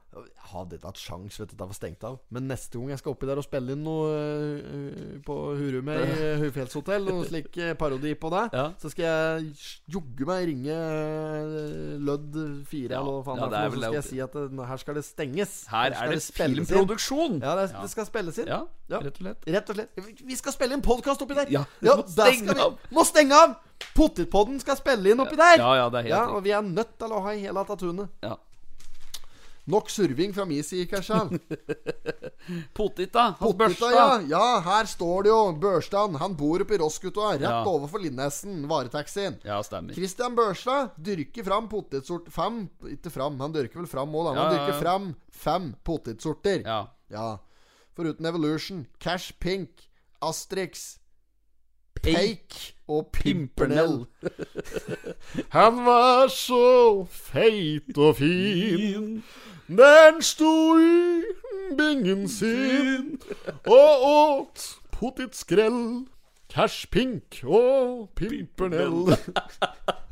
Speaker 2: Hadde ikke hatt sjans, vet du. Dette var stengt av. Men neste gang jeg skal oppi der og spille inn noe øh, på Hurumet
Speaker 1: (laughs)
Speaker 2: i øh, Høyfjellshotell, noe slik øh, parodi på det,
Speaker 1: Ja.
Speaker 2: så skal jeg sj- jogge meg ringe øh, Lødd 4
Speaker 1: Ja.
Speaker 2: eller hva faen
Speaker 1: Ja, det er
Speaker 2: det er. For noe, så
Speaker 1: vel
Speaker 2: skal jeg si at det, her skal det stenges.
Speaker 1: Her
Speaker 2: skal
Speaker 1: er det
Speaker 2: spilles inn.
Speaker 1: filmproduksjon!
Speaker 2: Ja, det, er- det skal spilles inn.
Speaker 1: Ja,
Speaker 2: Ja.
Speaker 1: rett og slett.
Speaker 2: Rett og slett. Vi skal spille inn podkast oppi der!
Speaker 1: Ja,
Speaker 2: ja
Speaker 1: må
Speaker 2: der
Speaker 1: stenge
Speaker 2: skal vi,
Speaker 1: av.
Speaker 2: Må stenge av! Potetpodden skal spille inn oppi der!
Speaker 1: Ja, ja, det er
Speaker 2: Ja,
Speaker 1: helt
Speaker 2: og vi er nødt til å ha hele tatunet.
Speaker 1: ja.
Speaker 2: Nok surving fra min side, Kershav.
Speaker 1: Potita, hans
Speaker 2: Pottita,
Speaker 1: børsta.
Speaker 2: ja. ja, her står det jo. Børstan. Han bor oppe i Rossgutta, rett
Speaker 1: Ja.
Speaker 2: overfor Lindnesen. Varetaxien.
Speaker 1: Ja, stemmer.
Speaker 2: Christian Børstad dyrker fram potetsort fem Ikke fram, han dyrker vel fram òg, da. men Han
Speaker 1: Ja, ja, ja.
Speaker 2: dyrker fram fem potetsorter.
Speaker 1: Ja.
Speaker 2: Ja. Foruten Evolution, Cash Pink, Astrix, Peik og Pimpernell. (laughs) Han var så feit og fin, den sto i bingen sin og åt potetskrell. Cash Pink og Pimpernell. (laughs)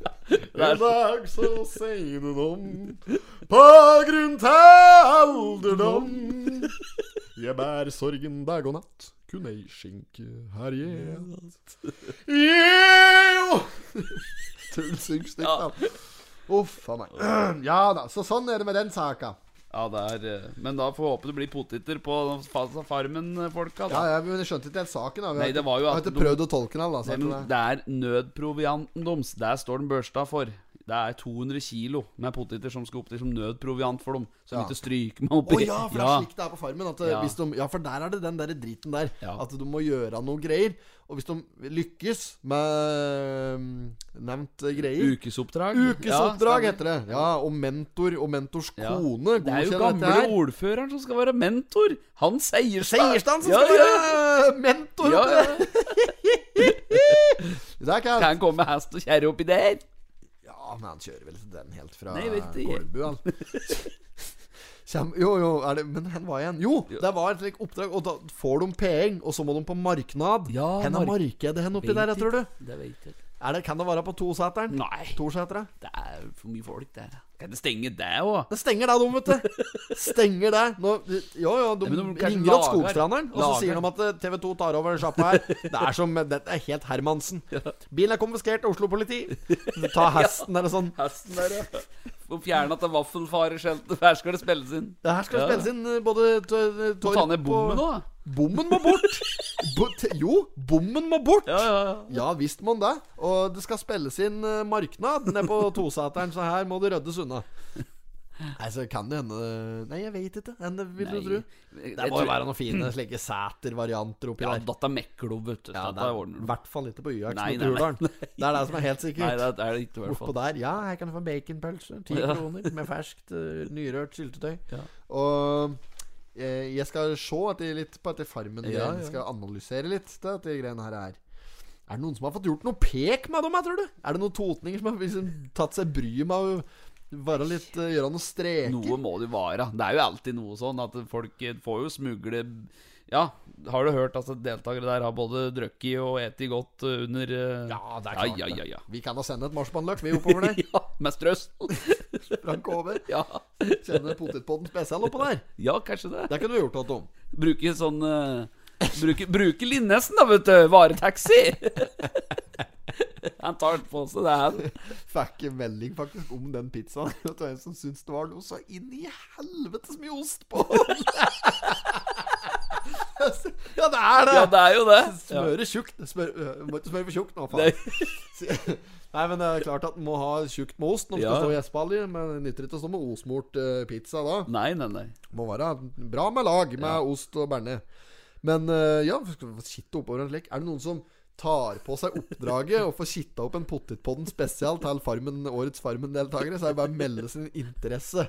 Speaker 2: En dag så seier den om på grunn til alderdom. Jeg bærer sorgen dag og natt, kun ei skinke her gjett.
Speaker 1: (laughs)
Speaker 2: Tullsyng stygt, da. Uff a meg. Ja da, så sånn er det med den saka.
Speaker 1: Ja, det er eh, Men da får vi håpe det blir poteter på fa- Farmen-folka, da.
Speaker 2: Ja, ja, men jeg skjønte ikke helt saken. da Vi har
Speaker 1: Nei, det
Speaker 2: ikke-
Speaker 1: var jo
Speaker 2: Jeg har
Speaker 1: at
Speaker 2: ikke
Speaker 1: de-
Speaker 2: prøvd å tolke den. da så
Speaker 1: Nei,
Speaker 2: jeg
Speaker 1: men
Speaker 2: tror det-
Speaker 1: det er nødprovianten deres. Der står den børsta for. Det er 200 kilo med poteter som skal opp til som nødproviant for dem. Så de
Speaker 2: Ja.
Speaker 1: ikke stryker meg
Speaker 2: Å
Speaker 1: oppi.
Speaker 2: ja, for det er slik det er på Farmen. At eh,
Speaker 1: Ja.
Speaker 2: Hvis de, ja, for der er det den der driten der.
Speaker 1: Ja.
Speaker 2: At du må gjøre noe greier. Og hvis de lykkes med mm, nevnt eh, greier
Speaker 1: Ukesoppdrag.
Speaker 2: Ukesoppdrag
Speaker 1: Ja,
Speaker 2: heter det. Ja, og mentor og mentors
Speaker 1: Ja.
Speaker 2: kone
Speaker 1: Det er jo
Speaker 2: godkjenner
Speaker 1: gamle
Speaker 2: dette her.
Speaker 1: ordføreren som skal være mentor. Han Seierstad.
Speaker 2: Seierstad som
Speaker 1: Ja,
Speaker 2: skal
Speaker 1: ja.
Speaker 2: være mentor!
Speaker 1: Ja,
Speaker 2: vet
Speaker 1: ja.
Speaker 2: du. Det er ikke
Speaker 1: Kan han komme med hest og kjerre oppi der?
Speaker 2: Ja, men han kjører vel den helt fra
Speaker 1: Nei, vet ikke.
Speaker 2: Kolbu, han. (laughs) Kjem- Jo, jo, er det, men hen var igjen? Jo, det var et slikt oppdrag, og da får de penger, og så må de på marknad.
Speaker 1: Ja,
Speaker 2: hen
Speaker 1: mark-
Speaker 2: er markedet hen oppi der, jeg tror du?
Speaker 1: Det vet jeg.
Speaker 2: Er det, kan det være på Toseteren?
Speaker 1: Nei,
Speaker 2: Torsetra?
Speaker 1: det er for mye folk der. Kan det stenge det òg?
Speaker 2: Det stenger deg, de, vet du. Stenger deg. Nå, jo, jo, de
Speaker 1: Ja, men de kanskje
Speaker 2: ringer opp
Speaker 1: lager-
Speaker 2: Skogstranderen, og så
Speaker 1: lager.
Speaker 2: sier de at eh, TV2 tar over sjappa her. Det er som Dette er helt Hermansen. Bilen er konfiskert av Oslo-politi.
Speaker 1: (laughs)
Speaker 2: Ta hesten eller sånn.
Speaker 1: Hesten der, ja. Få fjerna til vaffelfareskjeltet. Her skal det spilles inn.
Speaker 2: Det her skal
Speaker 1: Ja.
Speaker 2: spilles inn eh, både t-
Speaker 1: Må
Speaker 2: Torp
Speaker 1: ta ned bommen
Speaker 2: og-
Speaker 1: òg.
Speaker 2: Bommen må bort! Bo t jo, bommen må bort!
Speaker 1: Ja, ja, ja.
Speaker 2: Ja visst må den det. Og det skal spilles inn eh, marknad nede på Toseteren, så her må det ryddes unna. Nei, så kan det hende Nei, jeg veit ikke. Enn det vil du tro? Det må jo være noen fine slike sætervarianter oppi
Speaker 1: Mm. Ja,
Speaker 2: der.
Speaker 1: dette er Meklo, vet du.
Speaker 2: Ja, det
Speaker 1: dette
Speaker 2: er
Speaker 1: ordner
Speaker 2: I
Speaker 1: du.
Speaker 2: hvert fall ikke på
Speaker 1: Nei,
Speaker 2: YX mot
Speaker 1: nei, nei.
Speaker 2: Hurdalen. Det er det som er
Speaker 1: (laughs)
Speaker 2: helt
Speaker 1: Nei,
Speaker 2: sikkert.
Speaker 1: det er det ikke, i hvert
Speaker 2: Oppå
Speaker 1: fall.
Speaker 2: der. Ja, her kan du få baconpølse. Ti
Speaker 1: Ja.
Speaker 2: kroner med ferskt, eh, nyrørt syltetøy.
Speaker 1: Ja.
Speaker 2: Og eh, jeg skal se etter litt på dette farmen.
Speaker 1: Ja,
Speaker 2: Jeg
Speaker 1: ja.
Speaker 2: skal analysere litt det, dette greiene her. er. Er det noen som har fått gjort noe pek med dem, jeg tror du? Er det noen totninger som har liksom tatt seg bryet med å være litt, eh, gjøre noen streker?
Speaker 1: Noe må det jo være. Det er jo alltid noe sånn at folk får jo smugle Ja, har du hørt at deltakere der har både drukket og spist godt eh, under eh,
Speaker 2: Ja, det er
Speaker 1: Ja,
Speaker 2: klart.
Speaker 1: ja,
Speaker 2: det.
Speaker 1: ja, ja.
Speaker 2: Vi kan da sende et marsipanløk, vi, oppover
Speaker 1: (laughs)
Speaker 2: der.
Speaker 1: ja Med strøssel.
Speaker 2: Frank over.
Speaker 1: (laughs) Ja.
Speaker 2: Sende potetpodden spesial oppå der.
Speaker 1: ja, kanskje det.
Speaker 2: Det kunne du gjort, Tom.
Speaker 1: Bruke sånn eh, Bruke, bruke Linnesen, da, vet du. Varetaxi. (laughs) Han tar den på seg, det er han.
Speaker 2: Fikk en melding faktisk om den pizzaen. (laughs) Det var en som syntes det var noe så inn i helvetes mye ost på den. (laughs) ja, det er det!
Speaker 1: Ja, det er jo det. Ja.
Speaker 2: Smøre tjukt. (laughs) Smør, øh, må ikke smøre for tjukt nå,
Speaker 1: Nei.
Speaker 2: faen. (laughs) Nei. men det er klart at en må ha tjukt med ost når en
Speaker 1: Ja.
Speaker 2: skal stå i gjestebalje. Men det nytter ikke å stå med osmurt øh, pizza da.
Speaker 1: Nei, nei, nei.
Speaker 2: Må være bra med lag med ost og berne. Men øh, ja, vi skal kitte oppover en slik. Er det noen som tar på seg oppdraget og får kitta opp en potetpodden spesial til farmen, årets Farmen-deltakere, så er det bare å melde sin interesse.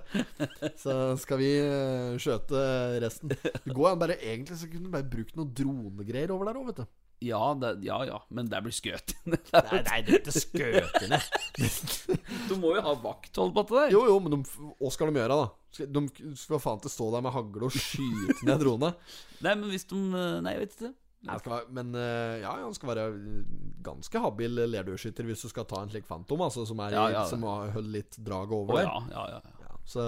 Speaker 2: Så skal vi øh, skjøte resten. Det går an bare egentlig så kunne du bare brukt noen dronegreier over der òg, vet du.
Speaker 1: Ja, det, ja, ja. Men det blir skutt. (laughs)
Speaker 2: Nei, nei, det er ikke skøtene.
Speaker 1: Du må jo ha vakthold på det der.
Speaker 2: Jo, jo, men de, hva skal de gjøre, da? Skal, de skal faen ikke stå der med hagle og skyte ned drone.
Speaker 1: Nei, men hvis de eh, Nei, jeg vet ikke.
Speaker 2: Nei, det skal være, men eh, ja, han skal være ganske habil lerdørskytter hvis du skal ta en slik Phantom, altså, som, er,
Speaker 1: Ja, ja.
Speaker 2: som har- holder litt drag
Speaker 1: Å
Speaker 2: over der.
Speaker 1: ja, ja, ja. ja.
Speaker 2: Så,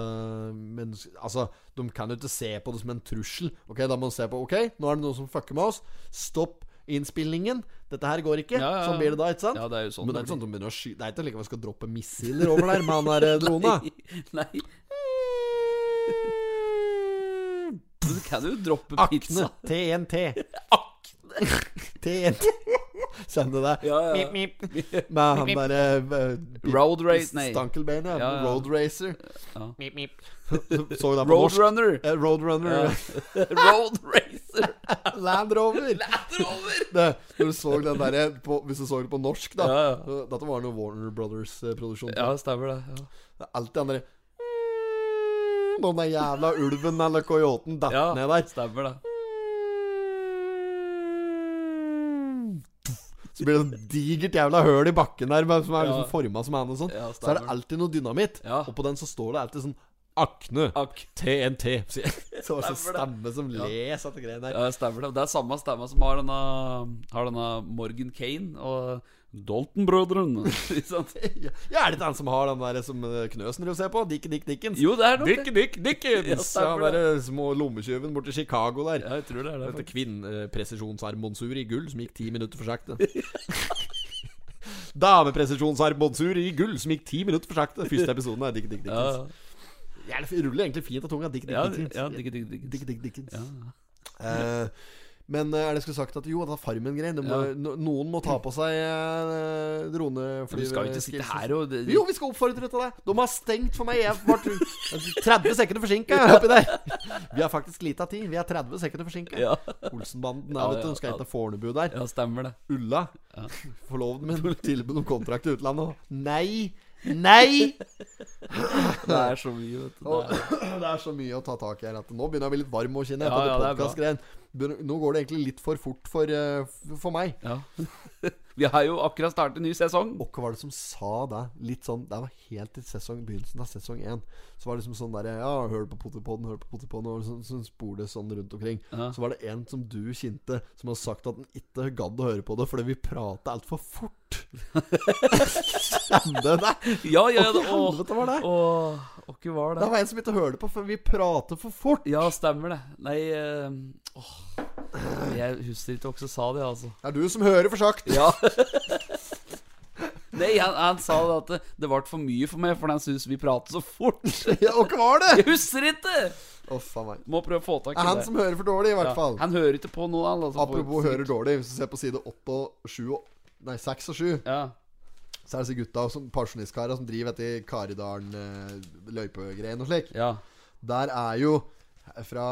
Speaker 2: men altså, de kan jo ikke se på det som en trussel. Ok, Da må man se på Ok, nå er det noen som fucker med oss. Stopp innspillingen. Dette her går ikke.
Speaker 1: Ja, ja, ja.
Speaker 2: Sånn blir det da, ikke sant?
Speaker 1: Ja, det er jo sånn
Speaker 2: men det er
Speaker 1: det
Speaker 2: ikke sånn at de begynner å sky Det er ikke likevel skal droppe missiler over der med han der eh, drona.
Speaker 1: (laughs) Nei. Du kan jo droppe
Speaker 2: Akne.
Speaker 1: pizza.
Speaker 2: TNT.
Speaker 1: Akne.
Speaker 2: TNT. (laughs) Kjenner du det?
Speaker 1: Ja, ja.
Speaker 2: Mip, mip. Med han eh, derre
Speaker 1: Road race, nei.
Speaker 2: Stankelbeina.
Speaker 1: Ja, ja.
Speaker 2: Road Racer.
Speaker 6: Meep, meep.
Speaker 2: Så du det på norsk?
Speaker 1: Roadrunner.
Speaker 2: Eh, Roadrunner.
Speaker 1: Ja. (laughs) Road racer.
Speaker 2: (laughs) Land
Speaker 1: (laughs)
Speaker 2: Rover.
Speaker 1: Etter over.
Speaker 2: (laughs) det, når du så den der eh, på, Hvis du så det på norsk, da
Speaker 1: Ja,
Speaker 2: Dette var noe Warner Brothers-produksjon.
Speaker 1: Ja, stemmer det. Ja.
Speaker 2: Det er alltid han derre Den der jævla ulven eller coyoten datt
Speaker 1: Ja,
Speaker 2: ned der.
Speaker 1: Stemmer det.
Speaker 2: Så blir det et digert jævla høl i bakken der med- som er
Speaker 1: Ja.
Speaker 2: liksom forma som han og sånn.
Speaker 1: Ja,
Speaker 2: så er det
Speaker 1: stemmer.
Speaker 2: alltid noe dynamitt,
Speaker 1: Ja.
Speaker 2: og på den så står det alltid sånn Akne.
Speaker 1: Ak
Speaker 2: TNT. sier jeg. (laughs) Så var det så
Speaker 1: Stemmer
Speaker 2: stemme som les etter greiene der.
Speaker 1: ja, stemmer det. Det er samme stemma som har denne, har denne Morgan Kane og (laughs) Dalton-brødrene. Ikke sant?
Speaker 2: Ja, (laughs) ja, er det ikke han som har den der som eh, Knøsen driver og ser på? Dick Dick Dickens?
Speaker 1: Jo, det er nok
Speaker 2: Dick
Speaker 1: det.
Speaker 2: Dick Dickens!
Speaker 1: Ja,
Speaker 2: han
Speaker 1: stemmer det.
Speaker 2: derre små lommetyven borti Chicago der.
Speaker 1: Ja, jeg tror det er det.
Speaker 2: Dette
Speaker 1: faktisk.
Speaker 2: kvinnepresisjonsarmbåndsur eh, i gull som gikk ti minutter for (laughs) sakte. Damepresisjonsarmbåndsur i gull som gikk ti minutter for sakte. Første episoden er Dick Dick
Speaker 1: Ja,
Speaker 2: Dickens. Ja, det ruller egentlig fint av tunga. Dick Dick
Speaker 1: ja,
Speaker 2: Dickens.
Speaker 1: ja, digg, digg, digg.
Speaker 2: Dick Dick Dickens. Eh, men eh, er det skulle sagt at jo, det er Farmen-greien. Det må-
Speaker 1: Ja.
Speaker 2: no- Noen må ta på seg eh,
Speaker 1: Men
Speaker 2: droneflyver...
Speaker 1: Du skal jo ikke sitte her og
Speaker 2: Jo, vi skal oppfordre til det. De har stengt for meg. Jeg var tru- 30 sekunder forsinka oppi der. Vi har faktisk lita tid. Vi er 30 sekunder forsinka.
Speaker 1: Ja,
Speaker 2: Olsenbanden
Speaker 1: Ja,
Speaker 2: er, vet du.
Speaker 1: ja,
Speaker 2: De skal
Speaker 1: ja.
Speaker 2: hete Fornebu der.
Speaker 1: ja stemmer det.
Speaker 2: Ulla, forloveden min, tilbød om kontrakt i utlandet. og Nei!
Speaker 1: (laughs)
Speaker 2: Nei!
Speaker 1: Det er så mye, vet du.
Speaker 2: Og, (clears throat) det er så mye å ta tak i her at nå begynner jeg å bli litt varm og kjenne.
Speaker 1: Ja, ja,
Speaker 2: etter
Speaker 1: det er
Speaker 2: det podcastgreien. Begynner- Nå går det egentlig litt for fort for, eh, f- for meg.
Speaker 1: Ja. (laughs) Vi har jo akkurat startet en ny sesong.
Speaker 2: Og hva var det som sa det? Litt sånn, Det var helt i sesong, begynnelsen av sesong én. Så var det liksom sånn derre Ja, hør på Potipodden, hør på Potipodden. Og så, så spoler det sånn rundt omkring.
Speaker 1: Ja.
Speaker 2: Så var det en som du kjente, som har sagt at han ikke gadd å høre på det fordi vi prata altfor fort. Kjente du det?
Speaker 1: Ja, ja, ja.
Speaker 2: Hva i
Speaker 1: det- åh,
Speaker 2: helvete var det?
Speaker 1: åh, åh, hva var
Speaker 2: Det
Speaker 1: det?
Speaker 2: var en som ikke hørte på, for vi prater for fort.
Speaker 1: Ja, stemmer det. Nei eh, åh. Jeg husker ikke hvem som sa det, altså.
Speaker 2: Det er du som hører for sakte.
Speaker 1: Ja. (laughs) Nei, han, han sa det at det, det ble for mye for meg, for han syntes vi pratet så fort. (laughs)
Speaker 2: Ja, og hva var det?
Speaker 1: Jeg husker ikke!
Speaker 2: Å, faen meg.
Speaker 1: Må prøve å få tak
Speaker 2: Det
Speaker 1: i
Speaker 2: er han
Speaker 1: det.
Speaker 2: som hører for dårlig, i hvert
Speaker 1: Ja,
Speaker 2: fall.
Speaker 1: Han hører ikke på noe, han. Altså,
Speaker 2: Apropos hører dårlig, hvis du ser på side 8 og 7 og Nei, 6 og 7,
Speaker 1: Ja.
Speaker 2: så er det disse gutta som pensjonistkarene som driver etter Karidalen-løypegreiene og slik.
Speaker 1: ja.
Speaker 2: Der er jo fra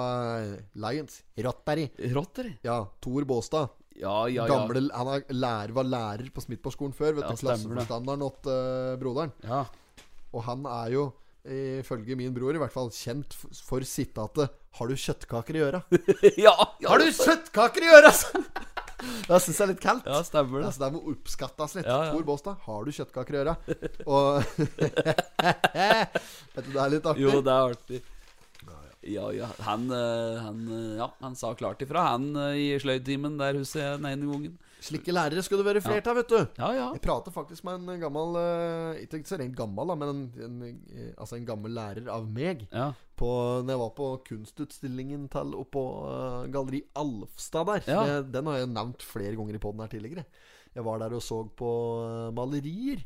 Speaker 2: Lions Rotary.
Speaker 1: Rotter?
Speaker 2: Ja, Tor Båstad.
Speaker 1: Ja, ja, ja.
Speaker 2: Gamle, han er lærer, var lærer på Smithborgskolen før. Vet
Speaker 1: Ja,
Speaker 2: du,
Speaker 1: stemmer det.
Speaker 2: Klasseforstanderen åt eh, broderen.
Speaker 1: Ja. (laughs)
Speaker 2: Og han er jo, ifølge min bror i hvert fall, kjent f- for sitatet 'Har du kjøttkaker i øra?'
Speaker 1: ja, ja. altså.
Speaker 2: Har du kjøttkaker i øra?! (laughs) Det syns jeg er litt kaldt.
Speaker 1: Ja, stemmer det.
Speaker 2: Altså, det må oppskattes litt.
Speaker 1: Ja, ja.
Speaker 2: Tor Båstad, har du kjøttkaker i øra? Og (laughs) Vet du, det er litt artig.
Speaker 1: Jo, det er artig. Ja, ja. Han, eh, han, eh, ja, han sa klart ifra, han eh, i sløydtimen der huset jeg den ene gangen.
Speaker 2: Slike lærere skulle det være flere av, vet du.
Speaker 1: Ja, ja.
Speaker 2: Jeg prater faktisk med en gammel eh, Ikke så rent gammel, da, men en, en, eh, altså en gammel lærer av meg.
Speaker 1: Ja,
Speaker 2: På, når jeg var på kunstutstillingen til oppå eh, Galleri Alfstad der.
Speaker 1: Ja.
Speaker 2: Jeg, den har jeg nevnt flere ganger i poden her tidligere. Jeg var der og så på eh, malerier.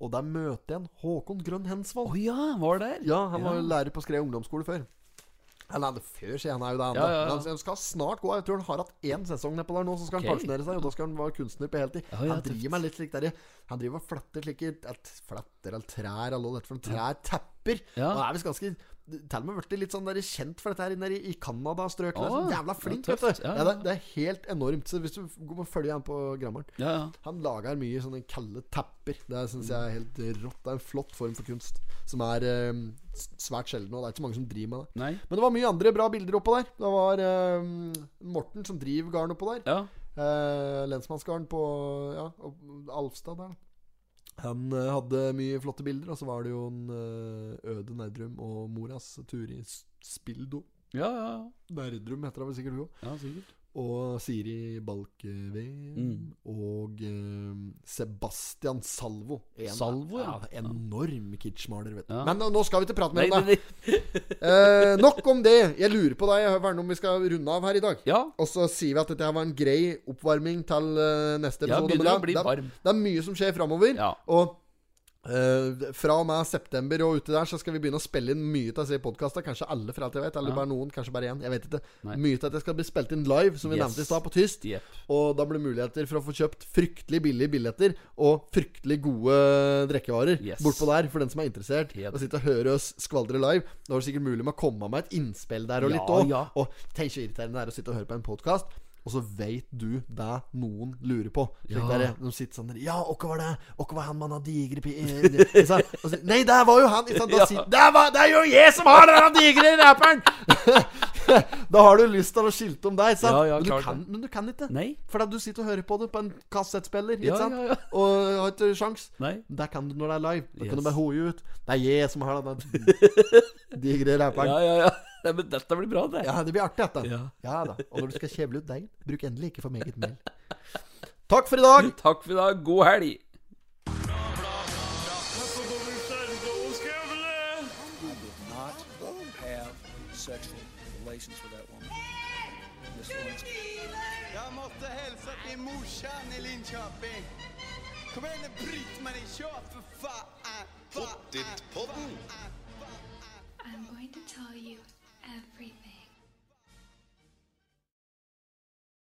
Speaker 2: Og der møter jeg en Håkon Grønn Hensvold.
Speaker 1: Å ja, han var der.
Speaker 2: Ja, han var jo lærer på Skred ungdomsskole før. Eller han er det før, sier han. Han er jo det ennå.
Speaker 1: Ja, ja, ja.
Speaker 2: Men Han skal snart gå. Jeg tror han har hatt én sesong nedpå der nå, så skal han
Speaker 1: Ok.
Speaker 2: pensjonere seg. Og da skal han være kunstner på heltid.
Speaker 1: Ja, ja,
Speaker 2: han
Speaker 1: tøft.
Speaker 2: driver med litt slik der Han driver og fletter slike et, Fletter eller trær eller hva det er for noe. Trær tepper.
Speaker 1: Ja.
Speaker 2: Han er visst ganske til og med blitt litt sånn der kjent for dette her inne i- i Canada-strøkene.
Speaker 1: Å,
Speaker 2: Sånn jævla
Speaker 1: ja,
Speaker 2: flink,
Speaker 1: tøft.
Speaker 2: vet du.
Speaker 1: Ja,
Speaker 2: Ja,
Speaker 1: ja.
Speaker 2: det, det er helt enormt. Så hvis du går og følger han på grammeren
Speaker 1: Ja, ja.
Speaker 2: han lager mye sånne kalde tepper. Det syns jeg er helt rått. Det er en flott form for kunst som er eh, s- svært sjelden, og det er ikke så mange som driver med det.
Speaker 1: Nei.
Speaker 2: Men det var mye andre bra bilder oppå der. Det var eh, Morten som driver garden oppå der.
Speaker 1: Ja.
Speaker 2: Eh, lensmannsgarden på ja, opp- Alfstad der. Han eh, hadde mye flotte bilder, og så var det jo en eh, Øde Nerdrum og moras Turi S- Spildo.
Speaker 1: ja, ja.
Speaker 2: Nerdrum heter det vel sikkert hun òg.
Speaker 1: Ja, sikkert.
Speaker 2: Og Siri Balkeved.
Speaker 1: Mm.
Speaker 2: Og eh, Sebastian Salvo. En,
Speaker 1: Salvo, ja.
Speaker 2: Enorm kitschmaler, vet du.
Speaker 1: Ja.
Speaker 2: Men eh, nå skal vi ikke prate
Speaker 1: Nei,
Speaker 2: mer om
Speaker 1: nei,
Speaker 2: det.
Speaker 1: nei.
Speaker 2: Eh, nok om det. Jeg lurer på deg, Verne, om vi skal runde av her i dag.
Speaker 1: Ja.
Speaker 2: Og så sier vi at dette her var en grei oppvarming til eh, neste
Speaker 1: Ja,
Speaker 2: episode.
Speaker 1: begynner
Speaker 2: men
Speaker 1: å bli
Speaker 2: det, er-
Speaker 1: varm.
Speaker 2: det er mye som skjer framover.
Speaker 1: Ja.
Speaker 2: Og eh, fra og med september og ute der så skal vi begynne å spille inn mye av disse podkastene. Kanskje alle, for alt jeg vet. Eller
Speaker 1: Ja.
Speaker 2: bare noen. Kanskje bare én. Jeg vet ikke.
Speaker 1: Nei.
Speaker 2: Mye av dette skal bli spilt inn live, som vi
Speaker 1: Yes.
Speaker 2: nevnte i stad, på tyst.
Speaker 1: Jepp.
Speaker 2: Og da blir det muligheter for å få kjøpt fryktelig billige billetter og fryktelig gode eh, drikkevarer
Speaker 1: Yes.
Speaker 2: bortpå der, for den som er interessert.
Speaker 1: Helt.
Speaker 2: Å sitte og høre oss skvaldre live. Da er det sikkert mulig med å komme med et innspill der og
Speaker 1: Ja,
Speaker 2: litt òg.
Speaker 1: ja.
Speaker 2: Og tenk så irriterende det er å sitte og høre på en podkast. Og så veit du det noen lurer på. Slik
Speaker 1: Ja.
Speaker 2: der, de sitter sånn der Ja, og hva var det? Og hva var han med den digre pi... eh, ikke sant? Og så, Nei, det var jo han! Ikke sant? Da sier, det, var, det er jo jeg som har den digre rapperen! (laughs) da har du lyst til å skilte om deg, ikke sant?
Speaker 1: Ja, ja,
Speaker 2: men, du
Speaker 1: klart
Speaker 2: kan,
Speaker 1: det.
Speaker 2: men du kan ikke.
Speaker 1: Nei.
Speaker 2: For at du sitter og hører på det på en kassettspiller, ikke
Speaker 1: Ja,
Speaker 2: sant?
Speaker 1: ja, ja.
Speaker 2: Og har ikke sjans.
Speaker 1: Nei.
Speaker 2: Der kan du når det er live. Da kan
Speaker 1: Yes.
Speaker 2: du bare hoie ut. Det er jeg som
Speaker 1: (laughs)
Speaker 2: har den digre rapperen.
Speaker 1: Ja,
Speaker 2: Ja.
Speaker 1: ja, ja. Nei, men dette blir bra, det.
Speaker 2: det blir artig, dette. Ja.
Speaker 1: Ja.
Speaker 2: da. Og når du skal kjevle ut deg, bruk endelig ikke for meget mel. Takk for i dag.
Speaker 1: Takk for i dag. God helg.
Speaker 3: You did not have sexual relations with that woman. Miss Lewinsky.
Speaker 4: Jag måste hälsa till morsan i Linköping. Kom igen nu Britt-Marie, kör för fan! Fa-
Speaker 5: I'm going to tell you.